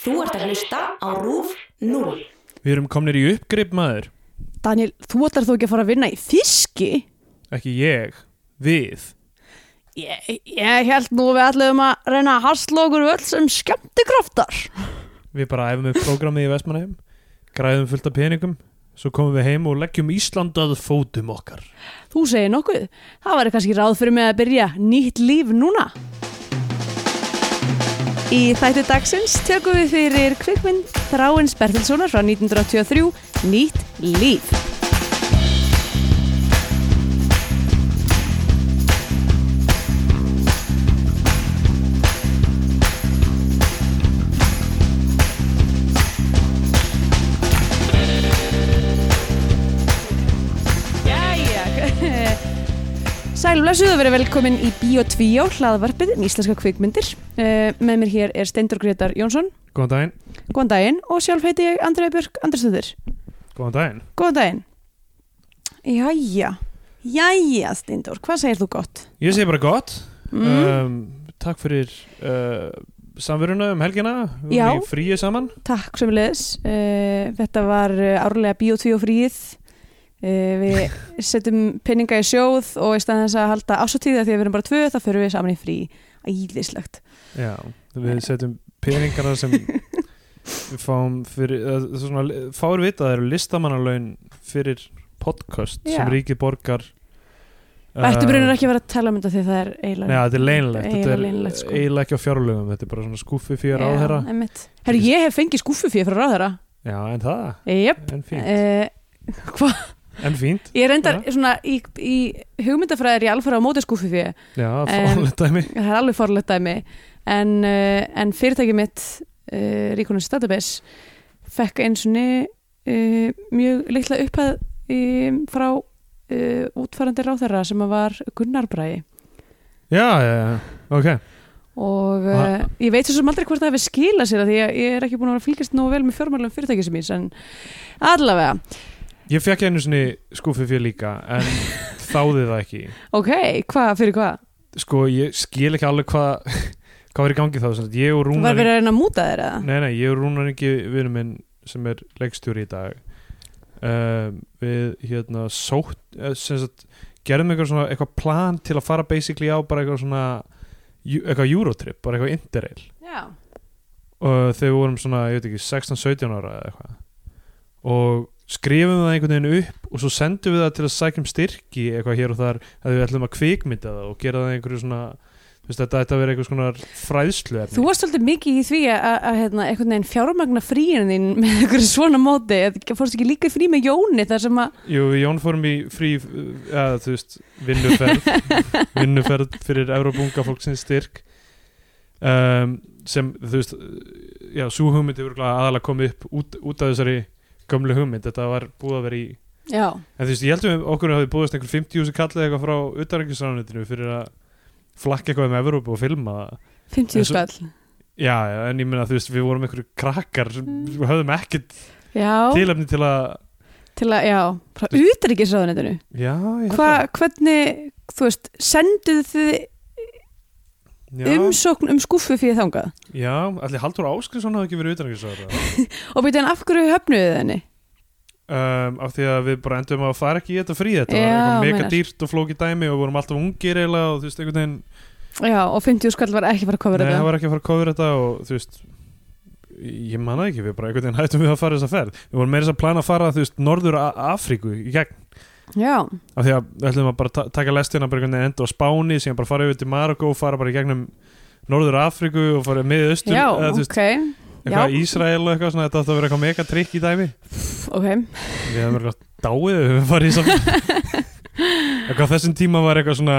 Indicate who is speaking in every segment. Speaker 1: Þú ert að hlusta á RÚF 0.
Speaker 2: Við erum komnir í uppgrip maður,
Speaker 3: Daniel, þú ætlar þú ekki að fara að vinna í þíski?
Speaker 2: ekki ég, við.
Speaker 3: Ég, ég held nú við ætlum að reyna að hasla okkur öll sem skemmtikraftar.
Speaker 2: Við bara æfum upp prógramið í Vestmanheim, græðum fullt af peningum, svo komum við heim og leggjum Ísland að fótum okkar.
Speaker 3: Þú segir nokkuð. Það væri kannski ráð fyrir mig að byrja nýtt líf núna. Í þætti dagsins tökum við fyrir kvikmynd Þráins Bertilssonar frá 1983, Nýtt líf. Jæja, Sæl og blessuð og verið velkomin í Bíó 2 hlaðvarpið um íslenska kvikmyndir. Uh, með mér hér er Steindur Gretar Jónsson,
Speaker 2: Góðan daginn,
Speaker 3: góðan daginn og sjálf heiti ég Andrei Björk Andrisdóttir.
Speaker 2: góðan daginn.
Speaker 3: Góðan daginn. Jæja, jæja Steindur, hvað segir þú gott?
Speaker 2: Ég segi bara gott.
Speaker 3: Mm.
Speaker 2: Um, takk fyrir uh, samveruna um helgina, við
Speaker 3: Já.
Speaker 2: erum í fríi saman.
Speaker 3: Takk sem leðis. Uh, þetta var eh, árlega Bíó 2 fríið. Uh, við setjum peninga í sjóð og í staðan þess að halda ásatíða því að við erum bara tvö, þá förum við saman í frí. Æðislegt.
Speaker 2: Já, við setjum peningana sem við fáum fyrir, það er svona, fáir vita að það eru listamannalaun fyrir podcast
Speaker 3: Já.
Speaker 2: sem ríkið borgar.
Speaker 3: Ættu
Speaker 2: Uh,
Speaker 3: brunir ekki að vera að tala um þetta því það er eiginlega...
Speaker 2: Nei, þetta er leinlegt, þetta er
Speaker 3: Eiginlega leinlegt, sko.
Speaker 2: eiginlega ekki á fjárlögum, þetta er bara svona skúfi fyrir
Speaker 3: Já,
Speaker 2: ráðherra.
Speaker 3: einmitt. Herru, ég hef fengið skúfufíð frá ráðherra.
Speaker 2: Já, en það,
Speaker 3: Jep.
Speaker 2: en fínt,
Speaker 3: Uh, hva?
Speaker 2: en fínt,
Speaker 3: Ég reyndar svona í, í hugmyndafræðir í alfara á móti skúfufíð.
Speaker 2: já,
Speaker 3: em,
Speaker 2: fórlega dæmi.
Speaker 3: Það er alveg forlegt dæmi. En, uh, en fyrirtækið mitt, uh, Ríkunins Database, fekk eins og uh, mjög litla upphæð um, frá uh, útfærandi ráðherra sem að var Gunnar Bræði.
Speaker 2: Já, já, já, ok,
Speaker 3: Og uh, ég veit þessum aldrei hvort það hefur skilað sér af því að ég er ekki búin að vera að fylgjast nógu vel með fjármálum fyrirtækið sem ég, en allavega.
Speaker 2: ég fekk einu svona skúfi fyrir líka, en þáði það ekki.
Speaker 3: Ok, hvað, fyrir hvað?
Speaker 2: Sko, ég skil ekki alveg hvað, hvað var í gangi þá, sem sagt. ég og
Speaker 3: Þú var
Speaker 2: Rúnar,
Speaker 3: verið að reyna að múta þér eða?
Speaker 2: nei, nei, ég og Rúnar ekki vinur minn sem er leikstjóri í dag, um, við, hérna, sótt, eh, sem sagt, gerðum eitthvað svona, eitthvað plan til að fara basically á bara eitthvað svona, ju- eitthvað Eurotrip, bara eitthvað Interrail.
Speaker 3: Já.
Speaker 2: og þegar við vorum svona, ég veit ekki, 16-17 ára eða eitthvað og skrifum það einhvern veginn upp og svo sendum við það til að sækjum styrki eitthvað hér og þar að við ætlum að kvikmynda það og gera það einhverju svona þú veist, þetta ætti að vera einhvers konar fræðslu
Speaker 3: Þú varst svolítið mikið í því að, að, að hérna, einhvern veginn fjármagna fríin þín með einhverju svona móti, eða fórst ekki líka í frí með Jóni þar sem að,
Speaker 2: Jú, við Jón fórum í frí eða þú veist, vinnuferð vinnuferð fyrir Európunga fólksins styrk um, sem þú veist já, svo hugmynd hefur aðalega komið upp út, út af þessari gömlu hugmynd þetta var búið að vera í
Speaker 3: já,
Speaker 2: En þú veist, ég held að okkur hafi búðist einhver 50.000 kallið eitthvað frá utanrengjusránutinu fyrir að flakka eitthvað um Evrópu og filma það.
Speaker 3: 50
Speaker 2: En svo-
Speaker 3: skall.
Speaker 2: Já, já, en ég meina, þú veist, við vorum einhverju krakkar sem
Speaker 3: Mm.
Speaker 2: höfðum ekkert
Speaker 3: Já, til,
Speaker 2: tilefni til að...
Speaker 3: að, já, frá útaríkisraðunetinu.
Speaker 2: Já, ég held
Speaker 3: Hva,
Speaker 2: að...
Speaker 3: hvernig, þú veist, senduð þið
Speaker 2: Já,
Speaker 3: umsókn um skúffu fyrir þangað?
Speaker 2: já, allir Haldur Áskrinsson hafði ekki verið utanrengjusránutinu.
Speaker 3: Og byrja en af hverju höfnuðu þið henni?
Speaker 2: Um, af því að við bara endum að fara ekki í þetta frí þetta
Speaker 3: Já,
Speaker 2: var eitthvað mega
Speaker 3: meinar.
Speaker 2: dýrt og flókið dæmi og vorum alltaf ungir eiginlega og þú veist, einhvern veginn
Speaker 3: Já, og 50 skall var ekki bara að kofra
Speaker 2: Nei, það
Speaker 3: þetta.
Speaker 2: var ekki að fara að kofra þetta og þú veist ég manna ekki, við bara einhvern veginn hættum við að fara þessa ferð við vorum meira þess að plana að fara þú veist, norður A- Afríku í gegn
Speaker 3: Já,
Speaker 2: af því að við ætlum að bara ta taka lestina bara einhvern veginn enda á Spáni, síðan bara fara yfir til Marokko og fara bara í gegnum norður Afríku og fara með austur,
Speaker 3: já,
Speaker 2: eða, þú veist,
Speaker 3: ok,
Speaker 2: eitthvað
Speaker 3: já.
Speaker 2: Ísrael og eitthvað svona, þetta átti að vera eitthvað mega trikk í dæmi
Speaker 3: ok.
Speaker 2: við hefum eitthvað dáið ef við farið í saman eitthvað á þessum tíma var eitthvað svona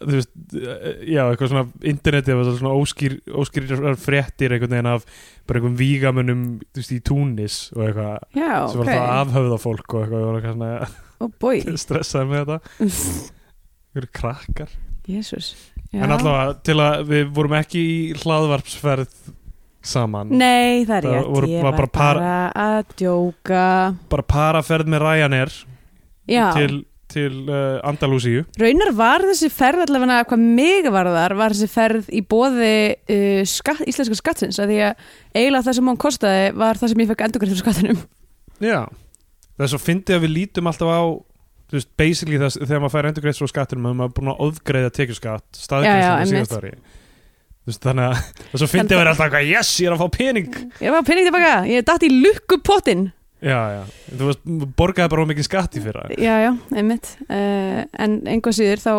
Speaker 2: þú veist, já, eitthvað svona internetið var svona óskýr, óskýrar fréttir einhvern veginn af bara einhvern vígamunum, þú veist, í Túnis og eitthvað,
Speaker 3: Já,
Speaker 2: sem
Speaker 3: ok.
Speaker 2: var það afhöfða fólk og eitthvað, ég var eitthvað svona
Speaker 3: Ó bói,
Speaker 2: stressaði með þetta einhverju krakkar,
Speaker 3: jésús.
Speaker 2: en allavega til að við vorum ekki í hlaðvarpsferð saman,
Speaker 3: Nei, það er
Speaker 2: Það
Speaker 3: rétt,
Speaker 2: voru-
Speaker 3: ég
Speaker 2: var
Speaker 3: var
Speaker 2: bara
Speaker 3: bara,
Speaker 2: par-
Speaker 3: að djóka
Speaker 2: bara paraferð með Ryanair
Speaker 3: Já,
Speaker 2: til til uh, Andalúsíu
Speaker 3: Raunar var þessi ferð allavega hvað mig varðar var þessi ferð í bóði uh, skatt, íslenska skattsins að því að eiginlega það sem hún kostaði var það sem ég fekk endurgrætt fyrir skattinum
Speaker 2: Já, það er svo fyndið að við lítum alltaf á þú veist, basically þess, þegar maður fær endurgreitt svo skattinum að maður er búin að ofgreiða tekjuskatt
Speaker 3: Já, já,
Speaker 2: staðgreiðslega
Speaker 3: einmitt.
Speaker 2: síðast ári Þú veist, þannig að það er svo fyndið að vera alltaf eitthvað, yes, ég er að fá pening
Speaker 3: Ég var pening tilbaka, ég datt í lukkupottin
Speaker 2: Já, já, þú veist, borgaði bara of mikið skatt í fyrra
Speaker 3: Já, já, einmitt uh, en einhvað síður þá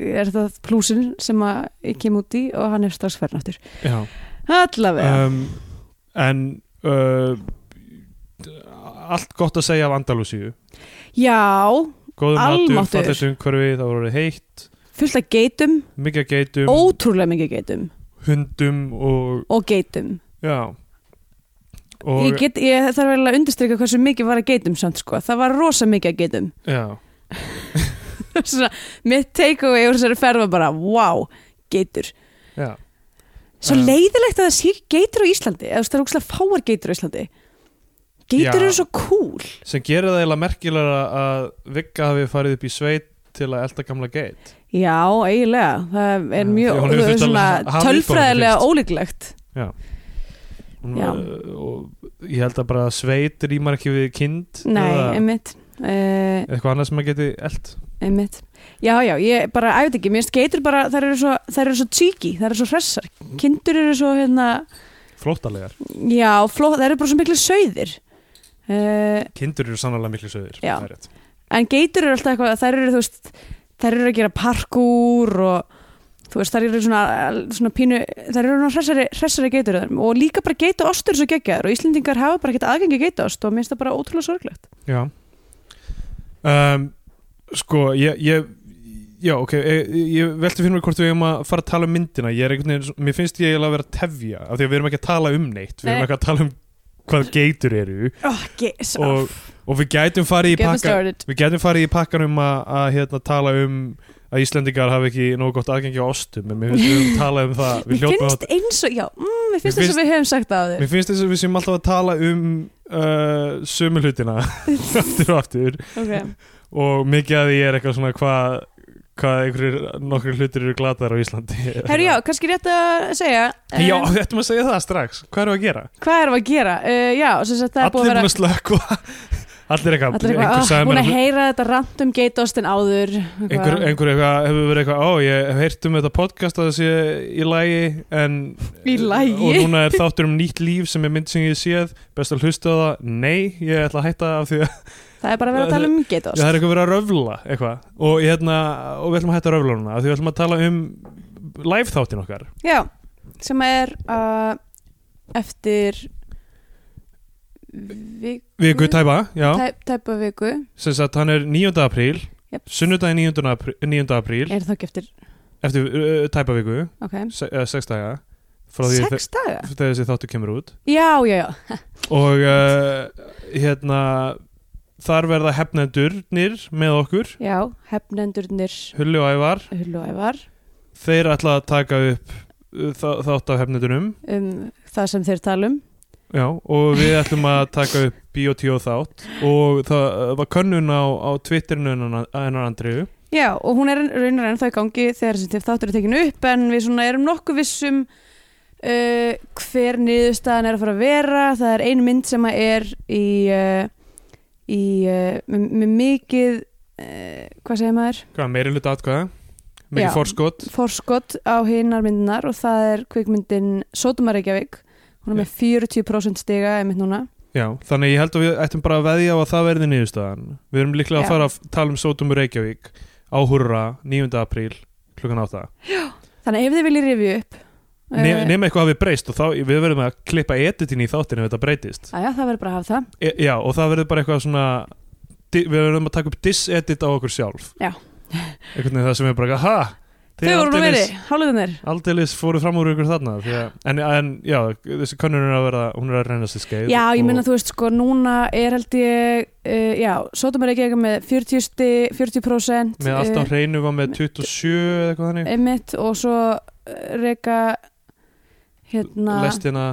Speaker 3: er það plúsin sem að ég kem út í og hann er strax ferðin aftur
Speaker 2: Já,
Speaker 3: Allavega,
Speaker 2: um, en uh, allt gott að segja af Andalúsíu
Speaker 3: já
Speaker 2: Góður matur,
Speaker 3: Almáttugur.
Speaker 2: fallist umhverfi, það voru heitt
Speaker 3: fullt af geitum,
Speaker 2: mikið af geitum,
Speaker 3: ótrúlega mikið geitum
Speaker 2: hundum og,
Speaker 3: og geitum
Speaker 2: já
Speaker 3: ég, get, ég þarf vel að undirstryka hversu mikið var að geitum samt sko, það var rosa mikið að geitum
Speaker 2: já
Speaker 3: Svona, mitt takeaway úr þessari ferð var bara wow, geitur
Speaker 2: Já,
Speaker 3: svo
Speaker 2: Já.
Speaker 3: leiðilegt að það sé ekki geitur á Íslandi eða þú veist, það er úkslega fáar geitur á Íslandi
Speaker 2: Já.
Speaker 3: geitur eru svo cool
Speaker 2: sem gerir það eiginlega merkilega að Vigga hafi farið upp í sveit til að elda gamla geit
Speaker 3: já, eiginlega, það er
Speaker 2: Já, því
Speaker 3: mjög
Speaker 2: hún hefur
Speaker 3: það er
Speaker 2: þurft að
Speaker 3: svona
Speaker 2: hafa upp á henni
Speaker 3: tölfræðilega
Speaker 2: fyrst.
Speaker 3: ólíklegt
Speaker 2: Hún,
Speaker 3: Já.
Speaker 2: uh, og ég held að bara sveit rýmar ekki við kind
Speaker 3: nei,
Speaker 2: eða
Speaker 3: einmitt uh,
Speaker 2: eitthvað annað sem maður geti eld
Speaker 3: einmitt já, já, ég bara æfði ekki, mér finnst geitur bara þær eru svo, þær eru svo tíki, þær eru svo hressar kindur eru svo, hérna
Speaker 2: flóttalegar,
Speaker 3: já, fló, þær eru bara svo miklu sauðir uh,
Speaker 2: kindur eru sannlega miklu sögur
Speaker 3: Já. en geitur eru alltaf eitthvað þær eru, þú veist, þær eru að gera parkúr og þú veist, þær eru svona, svona pínu þær eru svona hressari, hressari geitur þar. og líka bara geita ostur svo geggjaður og Íslendingar hafa bara ekkert aðgengi geita ost og mér finnst það bara ótrúlega sorglegt
Speaker 2: Já um, Sko, ég, ég Já, ok, ég, ég velti fyrir mig hvort við eigum að fara að tala um myndina Ég er einhvern veginn, svo- mér finnst ég eiginlega að vera að tefja af því að við erum ekki að tala um neitt Við erum
Speaker 3: Nei.
Speaker 2: ekki að tala um hvað geitur eru
Speaker 3: oh, yes,
Speaker 2: Og- og við gætum farið í
Speaker 3: get me
Speaker 2: pakka
Speaker 3: started
Speaker 2: Við getum farið í pakkanum að, að hérna, tala um að Íslendingar hafi ekki nóg gott aðgengi á ostum en mér finnst við höfum talað um það
Speaker 3: Mér
Speaker 2: við hljótum
Speaker 3: finnst
Speaker 2: að
Speaker 3: eins og, já, mm, mér finnst
Speaker 2: Mér
Speaker 3: eins og við höfum sagt það á
Speaker 2: Mér finnst þess að við séum alltaf að tala um uh, sömu hlutina aftur og aftur
Speaker 3: okay.
Speaker 2: og mikið að því er eitthvað svona hvað hvað einhverjir nokkur hlutir eru glatar á Íslandi
Speaker 3: Herru já, kannski rétt að segja eh,
Speaker 2: Já, við ættum að segja það strax Hvað erum við að gera?
Speaker 3: Hvað erum við að gera? Uh, já, sem sagt það
Speaker 2: Allir
Speaker 3: er búið að
Speaker 2: búin
Speaker 3: vera
Speaker 2: að slökva Allir eitthvað
Speaker 3: Allir
Speaker 2: einhver
Speaker 3: eitthvað,
Speaker 2: sagði mér
Speaker 3: oh, búin að
Speaker 2: að-
Speaker 3: heyra þetta rant um geitostin áður
Speaker 2: einhver, einhver eitthvað, hefur verið eitthvað ó, ég hef heyrt um þetta podcast að það sé í lægi en
Speaker 3: Í lagi?
Speaker 2: og núna er þáttur um nýtt líf sem er mynd sem ég séð, best að hlusta á það nei, ég ætla að hætta af því að
Speaker 3: Það er bara að vera að tala um geitost
Speaker 2: það er eitthvað verið að röfla eitthvað, og, ég, hérna, og við ætlum að hætta að röfla núna af því við ætlum að tala um live þáttin okkar
Speaker 3: Já, sem er uh, eftir viku,
Speaker 2: Viku Tæba, já,
Speaker 3: tæp, tæpa viku
Speaker 2: sem sagt hann er 9. apríl
Speaker 3: Jep.
Speaker 2: sunnudagi 9. apríl, 9. apríl
Speaker 3: Er það ekki eftir,
Speaker 2: eftir uh, Tæpa viku,
Speaker 3: ok
Speaker 2: se, uh, sex daga frá því
Speaker 3: Sex daga?
Speaker 2: þegar þessi þáttur kemur út
Speaker 3: Já, já, já,
Speaker 2: og uh, hérna þar verða hefnendurnir með okkur
Speaker 3: já, hefnendurnir
Speaker 2: Hulli og Ævar,
Speaker 3: Hullu og Ævar
Speaker 2: þeir ætla að taka upp uh, þa- þátt af hefnendunum
Speaker 3: um það sem þeir tala um
Speaker 2: Já, og við ætlum að taka upp Biotíó þátt og það uh, var könnun á, á Twitterinu hennar hennar Andriðu
Speaker 3: Já, og hún er raunar ennþá í gangi þegar sem þáttur er tekinu upp en við svona erum nokkuð vissum uh, hver niðurstaðan er að fara að vera það er ein mynd sem að er í, uh, í uh, með, með mikið uh, hvað segir maður?
Speaker 2: Hvað, meiri hluta atkvæða?
Speaker 3: Já.
Speaker 2: Mikið fórskot
Speaker 3: Forskott á hinnar myndinar og það er kvikmyndin Sótumar Reykjavík hún er með 40% stiga einmitt núna
Speaker 2: Já, þannig ég held að við ættum bara að veðja á að það verði niðurstaðan Við erum líklega
Speaker 3: Já.
Speaker 2: að fara að tala um Sótumur Reykjavík á Hurra 9. apríl klukkan átta
Speaker 3: þannig ef þið viljið rifja upp uh,
Speaker 2: Ne-
Speaker 3: Eh.
Speaker 2: nema eitthvað hafi breyst og þá, við verðum að klippa editin í þáttin ef þetta breytist
Speaker 3: Æja, það verður bara að hafa það
Speaker 2: e, Já, og það verður bara eitthvað svona di- við verðum að taka upp disedit á okkur sjálf
Speaker 3: Já.
Speaker 2: Einhvern veginn það sem er bara eitthvað, ha?
Speaker 3: Þau voru nú verið, hálfugunir
Speaker 2: Aldeilis fóru fram úr ykkur þarna því að, en, en já, þessi könnun er að verða hún er að reyna sér skeið
Speaker 3: Já, ég
Speaker 2: og-
Speaker 3: meina þú veist sko, núna er held ég, uh, já, Sótum er ekki með 40, sti, 40%
Speaker 2: Með allt á
Speaker 3: uh,
Speaker 2: hreinu var með 27 eða eitthvað þannig
Speaker 3: einmitt og svo reyka hérna uh,
Speaker 2: Lestina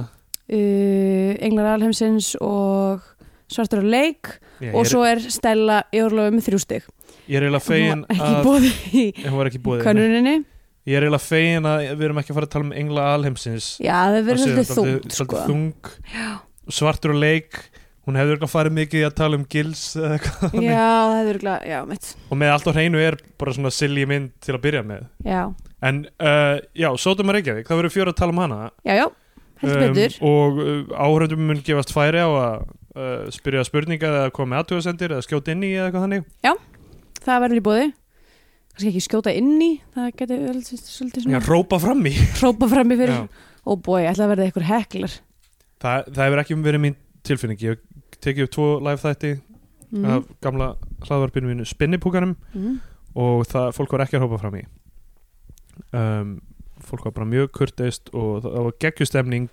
Speaker 3: Englar Alheimsins og svartur á leik
Speaker 2: Ég,
Speaker 3: og
Speaker 2: er-
Speaker 3: svo er Stella í orlofu með þrjú stig
Speaker 2: ég er eiginlega fegin
Speaker 3: Hún var ekki
Speaker 2: að
Speaker 3: bóði í
Speaker 2: Ég, hún var ekki búið
Speaker 3: kannuninni
Speaker 2: Ég er eiginlega fegin að við erum ekki að fara að tala um engla alheimsins
Speaker 3: já það
Speaker 2: Það
Speaker 3: verður
Speaker 2: sé
Speaker 3: svolítið
Speaker 2: svolítið
Speaker 3: þungt sko.
Speaker 2: þung Svartur og leik Hún hefur eitthvað farið mikið í að tala um gils eða eitthvað þannig.
Speaker 3: já það verður glæð já mitt
Speaker 2: Og með allt á hreinu er bara svona silji mynd til að byrja með
Speaker 3: já
Speaker 2: En uh, já, Sótum er Reykjavík, það verður fjóra að tala um hana
Speaker 3: já já heldur betur
Speaker 2: um, og uh, áhörðum mun gefast færi á að uh, spyrja spurninga eða koma með aðtjóðasendir eða skjóta inn í eða eitthvað þannig
Speaker 3: það verður í bóði kannski ekki skjóta inn í það getur vel svolítið
Speaker 2: Já,
Speaker 3: svona
Speaker 2: rópa fram í
Speaker 3: hrópa fram í fyrir
Speaker 2: Já.
Speaker 3: og bói ætla að verða ykkur heklar
Speaker 2: Þa, Það hefur ekki verið mín tilfinning ég hef tekið upp tvo live þætti
Speaker 3: Mhm.
Speaker 2: af gamla hlaðvarpinu mínu spinnipúkanum
Speaker 3: mm.
Speaker 2: og það, fólk var ekki að rópa fram í um, fólk var bara mjög kurteist og það, það var geggjustemning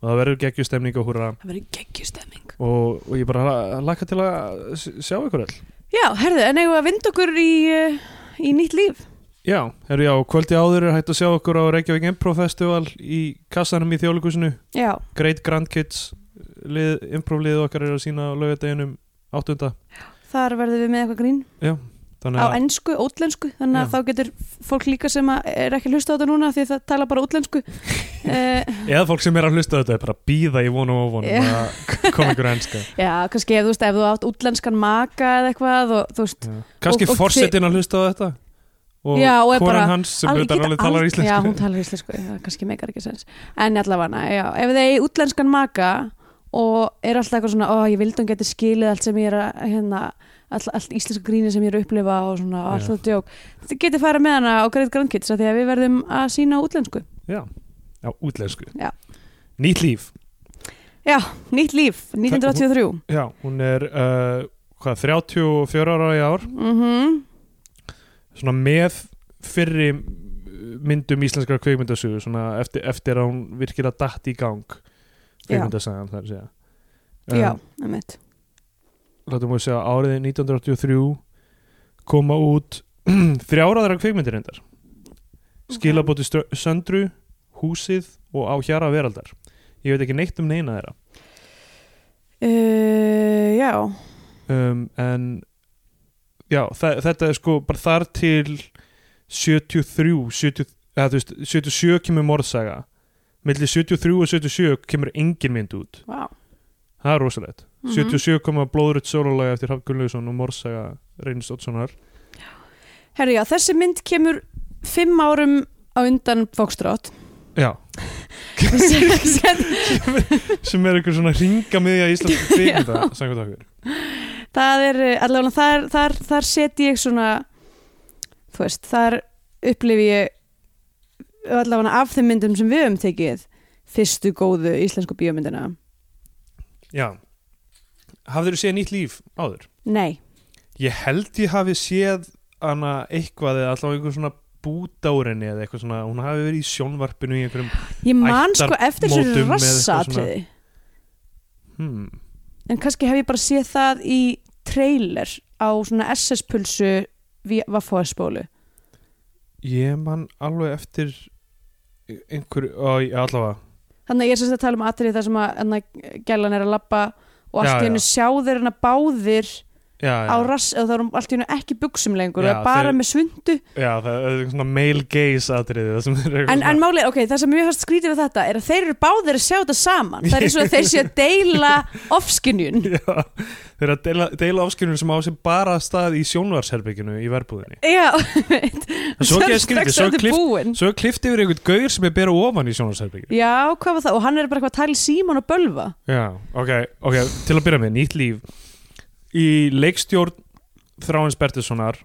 Speaker 2: og það verður geggjustemning og húra
Speaker 3: það verður geggjustemming
Speaker 2: og, og ég bara laka til að s- sjá ykkur all
Speaker 3: já herðu en eigum við að vinda okkur í, uh, í nýtt líf
Speaker 2: Já, herru já, kvöldi áður er hægt að sjá okkur á Reykjavík Impro Festival í kassanum í þjóðleikusinu
Speaker 3: já
Speaker 2: Great Grand Kids lið, improvliðið okkar er að sína á laugardeginum 8.
Speaker 3: þar verðum við með eitthvað grín
Speaker 2: Þannig
Speaker 3: á
Speaker 2: að,
Speaker 3: ennsku, ótlensku þannig að
Speaker 2: Já.
Speaker 3: þá getur fólk líka sem að er ekki að hlusta á þetta núna því að það tala bara ótlensku uh,
Speaker 2: eða fólk sem er að hlusta á þetta er bara að býða í vonum og
Speaker 3: Já.
Speaker 2: vonum að koma ykkur enska
Speaker 3: já, kannski ef þú veist ef þú átt útlenskan maka eða eitthvað og þú veist,
Speaker 2: Kanski
Speaker 3: Og- og
Speaker 2: forsetin að hlusta á þetta og
Speaker 3: Já, og er bara-
Speaker 2: konan hans sem
Speaker 3: alveg
Speaker 2: auðvitað
Speaker 3: geta
Speaker 2: alveg
Speaker 3: al-
Speaker 2: talar íslensku
Speaker 3: já, hún talar íslensku, það kannski meikar ekki sens en allavega, já, ef þið er útlenskan maka og er alltaf eitthvað svona ó, ég vildi hún geti skilið allt sem ég er að hérna, allt, allt íslenska gríni sem ég er að upplifa og svona, og allt
Speaker 2: Já.
Speaker 3: það djók þið getið farið með hana á Great Grand Kids af því að við verðum að sína á útlensku
Speaker 2: Já, á útlensku
Speaker 3: Já.
Speaker 2: Nýtt líf
Speaker 3: nýtt líf, 1983
Speaker 2: Já, hún er uh, hvað, 34 ára í ár
Speaker 3: mhm
Speaker 2: svona með fyrri myndum íslenskara kveikmyndasögu svona eftir, eftir að hún virkilega datt í gang kveikmyndasagan þar að segja
Speaker 3: Já,
Speaker 2: Um,
Speaker 3: einmitt.
Speaker 2: látum við segja árið 1983 koma út þrjáraðara kveikmyndir endar skilabóti Str- söndru húsið og á hjara veraldar ég veit ekki neitt um neina þeirra
Speaker 3: Uh, já,
Speaker 2: um, en já, þa þetta er sko bara þar til 73 70, eða, þú veist, 77 kemur morðsaga milli 73 og 77 kemur engin mynd út
Speaker 3: vá.
Speaker 2: það er rosalegt
Speaker 3: Mhm.
Speaker 2: 77 koma blóðrödd sólulega eftir Hrafn Gunnlaugsson og morðsaga Reynist Oddssonar
Speaker 3: Herru, já, þessi mynd kemur fimm árum á undan Foxtrot.
Speaker 2: já,
Speaker 3: það
Speaker 2: sem er einhver svona ringa miðja íslensku kvikmynda samkvæmt okkur
Speaker 3: er, eh, allavega, þar, þar, þar seti ég svona, þú veist, þar upplifi ég allavega af þeim myndum sem við höfum tekið fyrstu góðu íslensku bíómyndina.
Speaker 2: já hafður þú séð nýtt líf áður?
Speaker 3: Nei,
Speaker 2: Ég held ég hafi séð hana eitthvað eða allavega einhver svona búta úr henni eða eitthvað svona, hún hafi verið í sjónvarpinu í einhverjum,
Speaker 3: ég man sko
Speaker 2: Ættarmótum
Speaker 3: eftir þessu
Speaker 2: með eitthvað svona-
Speaker 3: rassatriði.
Speaker 2: hmm,
Speaker 3: En kannski hef ég bara séð það í trailer á svona SS-pulsu Vaffoðspólu.
Speaker 2: ég man alveg eftir einhverju, á, já, allavega
Speaker 3: Þannig að ég er sérst að tala um atrið þar sem að hana, gælan er að labba og allt
Speaker 2: Já,
Speaker 3: í hennu
Speaker 2: já.
Speaker 3: sjá þeir hana báðir
Speaker 2: já,
Speaker 3: á
Speaker 2: já,
Speaker 3: rass og það eru allt í hennu ekki buksum lengur
Speaker 2: Já,
Speaker 3: og bara
Speaker 2: þeir-
Speaker 3: með svundu.
Speaker 2: já, það er eitthvað svona male gaze atriði það sem er eitthvað
Speaker 3: En,
Speaker 2: svona-
Speaker 3: en málið, ok, það sem mjög fast skrítið við þetta er að þeir eru báðir að sjá þetta saman. Það er eins og að þeir séu að deila ofskinjun.
Speaker 2: Já, þeir eru að deila, deila afskilunum sem á sér bara stað í sjónvarsherbygginu í verbúðinni
Speaker 3: Já,
Speaker 2: En svo ekki að skrítið, svo er klift,
Speaker 3: klift.
Speaker 2: svo er klift yfir einhvern gaur sem er bera ofan í sjónvarsherbygginu
Speaker 3: Já, hvað var það? Og hann er bara eitthvað að tala í síman og bölva.
Speaker 2: Já, ok, ok, til að byrja með, nýtt líf Í leikstjórn Þráins Bertilssonar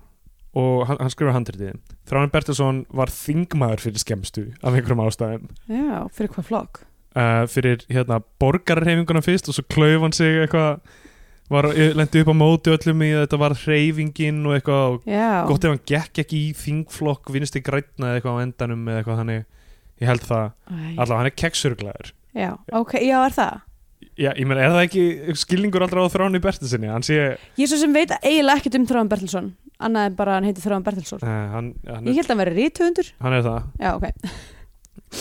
Speaker 2: og hann, hann skrifa handritið Þráin Bertilsson var þingmaður fyrir skemstu af einhverjum ástæðum
Speaker 3: Já, fyrir hvað flokk?
Speaker 2: uh, fyrir hérna borgarreifinguna fyrst og svo klauf hann sig eitthvað var, lendi upp á móti öllum í að þetta var hreyfingin og eitthvað og
Speaker 3: Já.
Speaker 2: gott ef hann gekk ekki í þingflokk vinsti grætna eða eitthvað á endanum eða eitthvað þannig, ég held það
Speaker 3: Æ.
Speaker 2: allavega hann er kekksurglaður
Speaker 3: Já, ok, já, er það?
Speaker 2: Já, ég meina, er það ekki skilningur aldrei á þráni Bertilsinni, hann sé
Speaker 3: Ég svo sem veit eiginlega ekkert um Þráðan Bertilsson annað en bara hann heiti Þráðan Bertilsson
Speaker 2: Uh, hann, hann,
Speaker 3: Ég
Speaker 2: er,
Speaker 3: held að hann veri rítuðundur
Speaker 2: hann er það
Speaker 3: Já, ok,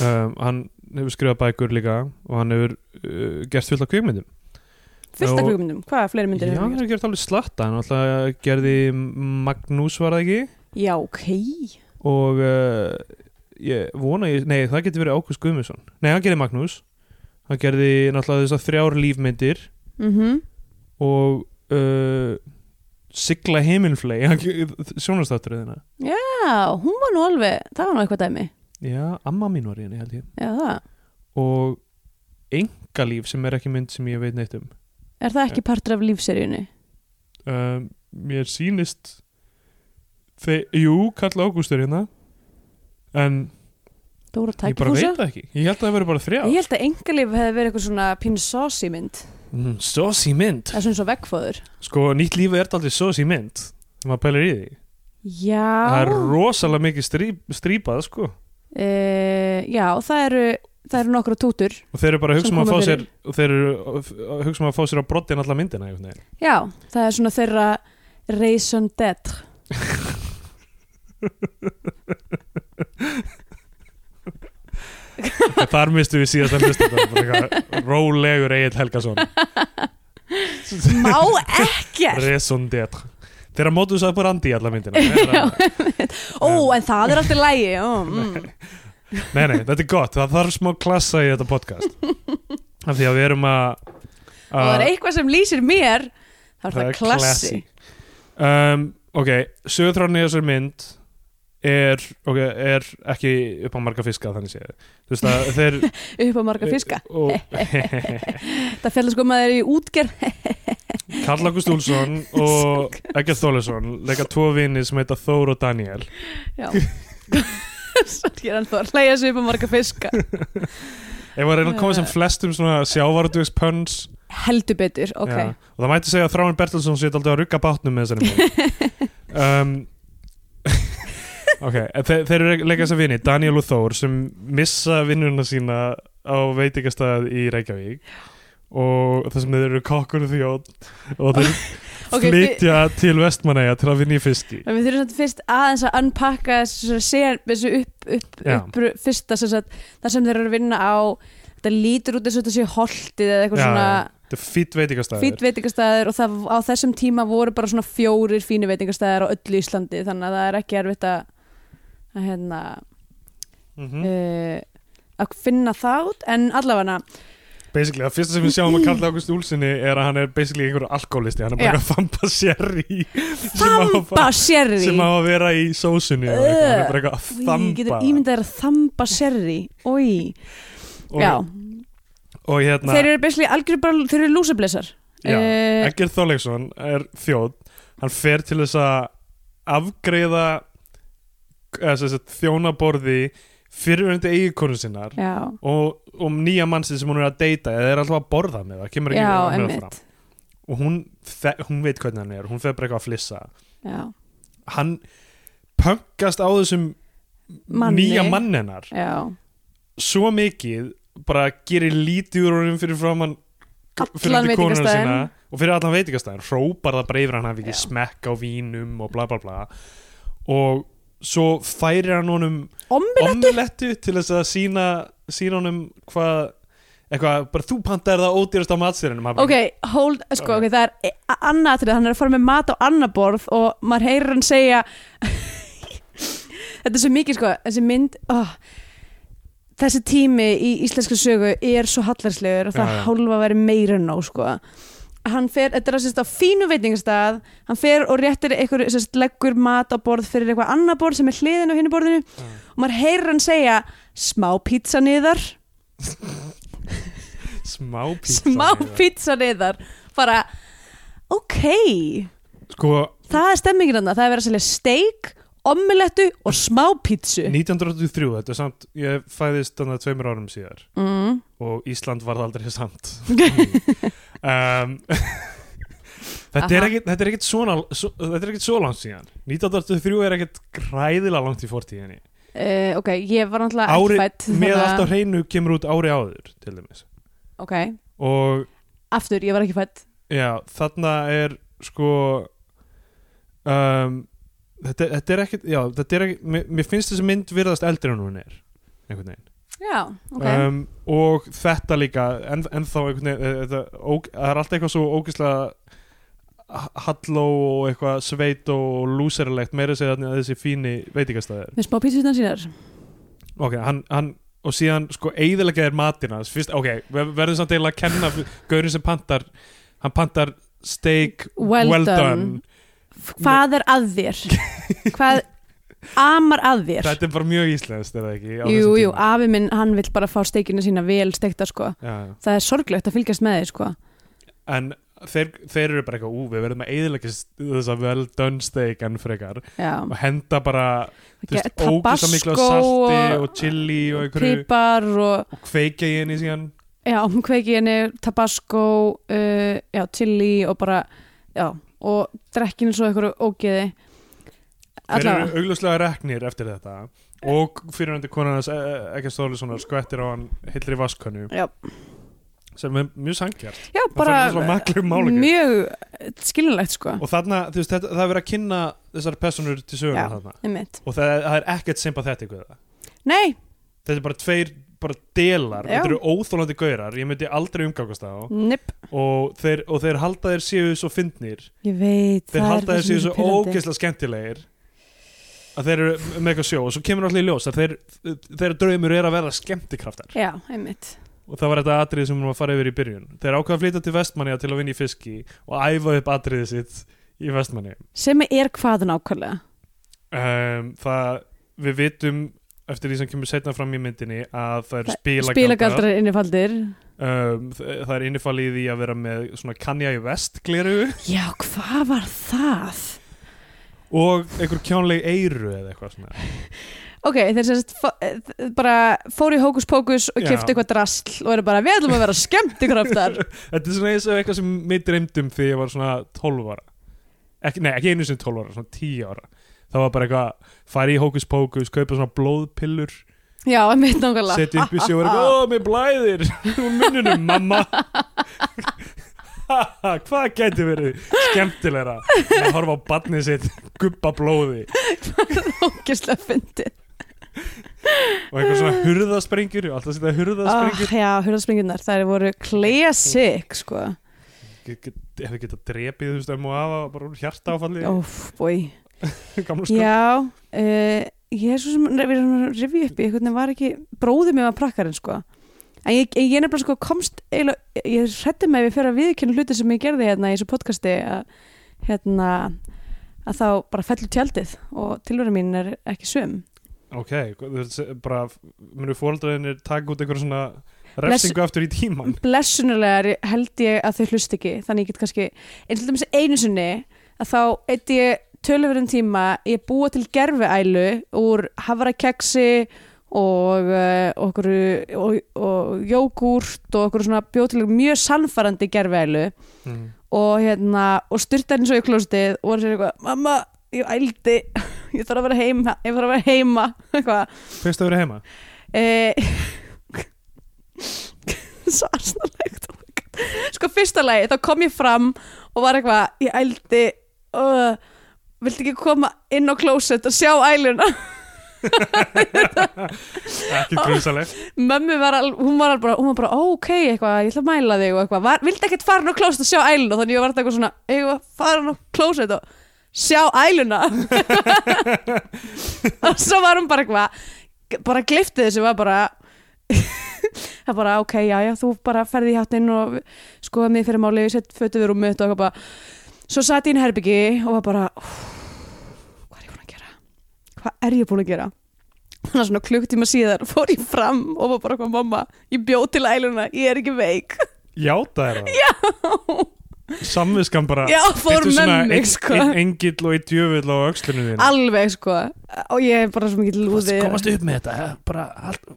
Speaker 2: um, hann hefur skrifað bækur líka og hann hefur uh, gert fullt af kvikmyndum
Speaker 3: fullt af
Speaker 2: Og-
Speaker 3: klukkumyndum, hvað fleiri myndir
Speaker 2: Já,
Speaker 3: hefur
Speaker 2: það
Speaker 3: hann
Speaker 2: er
Speaker 3: gert?
Speaker 2: gert alveg slatta hann alltaf gerði Magnús var það ekki
Speaker 3: já, ok
Speaker 2: og uh, ég vona ég, nei það getur verið Ágúst Guðmundsson nei hann gerði Magnús hann gerði náttúrulega þessar þrjár lífmyndir
Speaker 3: mm
Speaker 2: og uh, sigla heimilflei sjónastáttur þeirna
Speaker 3: já, hún var nú alveg, það var nú eitthvað dæmi
Speaker 2: já, amma mín var í henni held ég
Speaker 3: já, það,
Speaker 2: og engalíf sem er ekki mynd sem ég veit neitt um
Speaker 3: er það ekki partur af lífseríunni
Speaker 2: um, mér sýnist þe- jú, Karl Ágúst er hérna en
Speaker 3: Dóra
Speaker 2: ég bara veit
Speaker 3: Tækifúsa
Speaker 2: það ekki ég held að það veri bara þrjár
Speaker 3: ég held að engalif hefði verið eitthvað svona pínu sósi mynd,
Speaker 2: mm, sósi mynd
Speaker 3: það er svona svo veggfóður
Speaker 2: Sko, nýtt lífið er aldrei sósi mynd þegar maður pælir í því
Speaker 3: já
Speaker 2: það er rosalega mikið stríp, strípað sko.
Speaker 3: Eh, já, það eru það eru nokkra tútur
Speaker 2: og þeir eru bara að hugsa
Speaker 3: Sem
Speaker 2: um að
Speaker 3: koma
Speaker 2: fá
Speaker 3: fyrir.
Speaker 2: sér og þeir eru að hugsa um að fá sér á brotin alla myndina einhvern veginn.
Speaker 3: já, það er svona þeirra raison d'être
Speaker 2: En þar mistu við síðast að hlusta rólegur Egil Helgason
Speaker 3: má ekkert
Speaker 2: raison d'être þeir eru mótuðs að brandi í alla myndina Þeir eru að-
Speaker 3: ó, en það er alltaf lægi mm.
Speaker 2: nei, nei, þetta er gott, það þarf smá klassa í þetta podcast af því að við erum að
Speaker 3: og það er eitthvað sem lýsir mér þá er það, klassi
Speaker 2: um, Ok, sögutránin í þessari mynd er, okay, er ekki upp á marga fiska þannig séð Þú veist að þeir
Speaker 3: upp á marga fiska
Speaker 2: og,
Speaker 3: það fjallar sko maður í útgerð
Speaker 2: Karl August Úlfsson og Egger Þólusson leika tvo vini sem heita Þór og Daniel
Speaker 3: já Svo ég er ennþá að hlæja sig upp á marga fiska
Speaker 2: Ég var að reyna að
Speaker 3: Ah.
Speaker 2: koma sem flestum svona sjávarduðspönns
Speaker 3: heldur betur, ok
Speaker 2: Já, og það mætti segja að Þráin Bertelsson sé aldrei að rugga bátnum með þessari mynd um, ok, en þe þeir eru leika þess að vini Daniel og Þór sem missa vinnuna sína á veitingastað í Reykjavík og það sem þeir eru kokkur og þjóð og þeir
Speaker 3: Ok,
Speaker 2: flytja til vestmanæja til að vinna í fiski
Speaker 3: En við þurfum samt fyrst aðeins að unpacka þessu, sér, þessu upp, upp,
Speaker 2: Já.
Speaker 3: upp fyrsta sem sagt, það sem þeir eru að vinna á þetta lítur út eins og þetta sé holtið eða eitthvað
Speaker 2: Já,
Speaker 3: svona
Speaker 2: þetta er fýtt veitingastað
Speaker 3: fýtt veitingastæður og það, á þessum tíma voru bara svona fjórir fínu veitingastæður á öllu Íslandi þannig að það er ekki erfitt að, að hérna
Speaker 2: mm
Speaker 3: uh, að finna það út en allavega
Speaker 2: basically, það fyrsta sem við sjáum að kalla Ágúst Úlsinni er að hann er basically einhver alkoholisti, hann er
Speaker 3: Já.
Speaker 2: bara að famba sérri
Speaker 3: þamba sérri
Speaker 2: sem á að vera í sósunni eða eitthvað, hann er bara eitthvað að
Speaker 3: Í, getur
Speaker 2: þamba
Speaker 3: ímyndað þér að þamba sérri Í, já,
Speaker 2: og, og hérna
Speaker 3: þeir eru basically algjör bara, þeir eru lúsablessar
Speaker 2: já,
Speaker 3: Eh,
Speaker 2: Egger Þorleiksson er þjóð hann fer til þess að afgreiða eða, sem sagt, þjónaborði fyrirverandi eigikonu sinnar
Speaker 3: Já,
Speaker 2: og, og nýja mannsið sem hún er að deyta eða er alltaf að borða með það, kemur ekki
Speaker 3: já,
Speaker 2: annað fram
Speaker 3: einmitt
Speaker 2: og hún, þe- hún veit hvernig hann er hún fer bara eitthvað að flissa
Speaker 3: já,
Speaker 2: hann pöngast á þessum
Speaker 3: Manni.
Speaker 2: nýja mannenar
Speaker 3: já,
Speaker 2: svo mikið bara gerir lítið úr honum fyrir framann fyrir
Speaker 3: Allan
Speaker 2: undir konuna
Speaker 3: veitingastæðinn.
Speaker 2: sína og fyrir allan veitingastæðin hrópar það breyfir hann að hann
Speaker 3: Já.
Speaker 2: ekki smekk á vínum og bla bla bla og svo færir hann honum
Speaker 3: Ombilett?
Speaker 2: omlettu til þess að sína, sína honum hvað eitthvað, bara þú pantar það ódýrast á matsýrinum
Speaker 3: ok, hold, sko, ok, það er e- a- annað til hann er að fara með mat á annað borð og maður heyrir hann segja þetta er svo mikið, sko þessi mynd, oh, þessi tími í íslenska sögu er svo hallarslegur og það
Speaker 2: Já, já.
Speaker 3: hálfa væri meira en nóg, sko hann fer, þetta er að sérst á fínu veitingastað hann fer og réttir einhver sérst, leggur mat á borð fyrir eitthvað annað borð sem er hliðin á hinu borðinu og maður heyrir hann segja smá pizza niðar
Speaker 2: smá pizza
Speaker 3: smá pizza niðar bara, ok
Speaker 2: sko,
Speaker 3: það er stemmingin hann, það er verið að selja steik ommilettu og smá pizzu
Speaker 2: 1983, þetta er samt ég fæðist þannig að tveimur árum síðar
Speaker 3: mm.
Speaker 2: og Ísland varð aldrei samt um, þetta, er
Speaker 3: Aha.
Speaker 2: ekkit, þetta er ekkit svona svo, þetta er ekkit svo langt síðan 1983 er ekkit græðilega langt í fortíðinni
Speaker 3: uh, ok, ég var náttúrulega
Speaker 2: Ári-
Speaker 3: ekki fætt
Speaker 2: með allt á hreinu kemur út ári áður til dæmis
Speaker 3: ok,
Speaker 2: og
Speaker 3: aftur, ég var ekki fætt
Speaker 2: já, þarna er sko um, þetta, þetta er ekkit já, þetta er ekkit, mér, mér finnst þessi mynd virðast eldri en hún er einhvern veginn
Speaker 3: já, ok
Speaker 2: um, og þetta líka en, ennþá einhvern veginn eh, þetta, óg, það er alltaf eitthvað svo ógislega halló og eitthvað sveit og lúserlegt meira segja þannig að þessi fíni veitingastæðir
Speaker 3: með smá pítsutan sínar
Speaker 2: ok, hann, hann og síðan sko eigðilega er matina fyrst, ok, við verðum samt eiginlega að kenna gaurin sem pantar hann pantar steak
Speaker 3: well, done. hvað er að þér hvað amar að þér
Speaker 2: þetta er bara mjög íslenskt er það ekki á
Speaker 3: jú,
Speaker 2: þessum
Speaker 3: jú,
Speaker 2: tíma?
Speaker 3: afi minn, hann vill bara fá steikina sína vel steikta sko,
Speaker 2: já, já.
Speaker 3: það er sorglegt að fylgjast með þið sko
Speaker 2: en þeir, þeir eru bara eitthvað ú, við verðum að eigðilega þess að well done steak enn frekar
Speaker 3: já,
Speaker 2: og henda bara þú veist,
Speaker 3: Tabasco
Speaker 2: ógæsta miklu af salti og,
Speaker 3: og-
Speaker 2: chili og einhverju
Speaker 3: pipar og
Speaker 2: og kveikja í henni síðan
Speaker 3: já, kveiki henni tabasco, uh, já, chili og bara, já, og drekkinu svo einhverju ógeði
Speaker 2: þeir
Speaker 3: allavega,
Speaker 2: eru augljóslega reknir eftir þetta og fyrirhandi konan hans ekki stóðlisónar skvettir á hann hillri vaskönnu
Speaker 3: já,
Speaker 2: sem er mjög sangjart
Speaker 3: já,
Speaker 2: það er
Speaker 3: bara
Speaker 2: maklum málingi
Speaker 3: mjög skiljanlegt sko,
Speaker 2: og þarna, þú veist, þetta, það er verið að kynna þessar personur til söguna
Speaker 3: Já.
Speaker 2: þarna
Speaker 3: einmitt
Speaker 2: og það, það er ekkert sympathetik við það
Speaker 3: nei,
Speaker 2: þetta er bara tveir bara delar,
Speaker 3: Já.
Speaker 2: þetta eru óþólandi gaurar ég myndi aldrei umgangast þá
Speaker 3: nipp,
Speaker 2: og þeir, og þeir halda þeir séu svo fyndnir
Speaker 3: ég veit
Speaker 2: þeir
Speaker 3: það er
Speaker 2: halda
Speaker 3: eitthvað
Speaker 2: þeir séu
Speaker 3: sem
Speaker 2: svo
Speaker 3: er pirrandi.
Speaker 2: ógeðslega skemmtilegir að þeir eru með eitthvað sjó og svo kemur alltaf í ljós að þeir, þeir draumur er að verða skemmtikraftar
Speaker 3: já, einmitt,
Speaker 2: og það var þetta atrið sem hún var að fara yfir í byrjun þeir ákveða að flytja til Vestmanni til að vinna í fiski og æfa upp atriðið sitt í Vestmanni
Speaker 3: sem er hvað nákvæmlega
Speaker 2: um, það við vitum eftir því sem kemur setna fram í myndinni að það eru spilagaldrar
Speaker 3: spilagaldrar innifaldir
Speaker 2: um, þ- það er innifalið í að vera með svona kannja í vest gleru
Speaker 3: já, hvað var það?
Speaker 2: og einhver kjánleg eiru eða eitthvað svona
Speaker 3: ok, þeir sem sagt fó- eh, bara fóru í hókus pókus og
Speaker 2: Já.
Speaker 3: kiftu eitthvað drasl og eru bara, við ætlum að vera skemmtikraftar
Speaker 2: Þetta er svona eins og eitthvað sem mig dreymdum þegar ég var svona 12 ára ekki, Nei, ekki einu sem 12 ára, svona 10 ára Það var bara eitthvað, fara í hókus pókus kaupa svona blóðpillur
Speaker 3: já, einmitt nákvæmlega
Speaker 2: setja upp í sjó og vera eitthvað, ó, mér blæðir úr munnunum, mamma Haha, Hvað gæti verið skemmtilegra en að horfa á barnið sitt gubba blóði
Speaker 3: ógislega fyndið
Speaker 2: og eitthvað svona hurðasprengjur alltaf setja
Speaker 3: oh,
Speaker 2: hurðasprengjur
Speaker 3: já, hurðarspringjurnar, þær voru classic sko,
Speaker 2: Get- get- ef við geta drepið þú veist ömmu og afa bara úr hjarta áfalli
Speaker 3: óf, bói
Speaker 2: gamla sko
Speaker 3: já, uh, ég er svo sem við erum að rifja upp í, hvernig var ekki bróðið mér var prakkarinn sko en ég, ég er nefnilega sko komst eiginlega, ég hrætti mig við fyrir að viðkynna hluti sem ég gerði hérna í þessu podcasti að hérna að þá bara fellur tjaldið og tilvera mín er ekki söm
Speaker 2: Ok, þú veist, bara munu fóreldraðinir taka út einhver svona refsingu aftur í tíman
Speaker 3: blessunulega held ég að þau hlust ekki þannig ég get kannski, eins og þess einu sinni að þá eitt ég töluverðum tíma ég að búa til gerfiælu úr havrakeksi og eh, og okkur og, og jógúrt og okkur svona bjóð til mjög sannfærandi gerfiælu
Speaker 2: mm.
Speaker 3: og hérna og styrta henni svo í klóstið og var sér eitthvað, mamma, ég ældi ég þarf að vera heima, ég þarf að vera heima eitthvað
Speaker 2: Fyrst að vera heima
Speaker 3: Eh, svo arsnalegt oh my god. sko fyrsta lagi þá kom ég fram og var eitthvað ég ældi uh, viltu ekki koma inn á klósett og sjá æluna
Speaker 2: Ekki grusaleg
Speaker 3: mömmu var alveg, hún var alveg bara, hún var bara "Ó, ok, eitthvað, ég ætla að mæla þig og eitthvað var, viltu ekkert fara inn á klósett og sjá æluna þannig ég var eitthvað svona, eitthvað, fara inn á klósett og sjá æluna og svo var hún bara eitthvað bara gliftið þessu var bara það bara ok, já, já, þú bara ferði í hattinn og skoða mig fyrir máli, sett fötu við rúmið og eitthvað bara svo satt ég inn í herbyggi og var bara "Úff, hvað er ég búin að gera? hvað er ég búin að gera? þannig að svona klukktíma síðar fór ég fram og var bara hvað mamma, ég bjóð til æluna ég er ekki veik
Speaker 2: Játa er það Já Samviskan bara
Speaker 3: Já, fór
Speaker 2: Ertu svona
Speaker 3: með mig,
Speaker 2: einn-
Speaker 3: sko.
Speaker 2: Einn engill og einn djöfull á öxlunum þín
Speaker 3: alveg sko og ég er bara svo mikið lúði
Speaker 2: upp með þetta he? bara allt,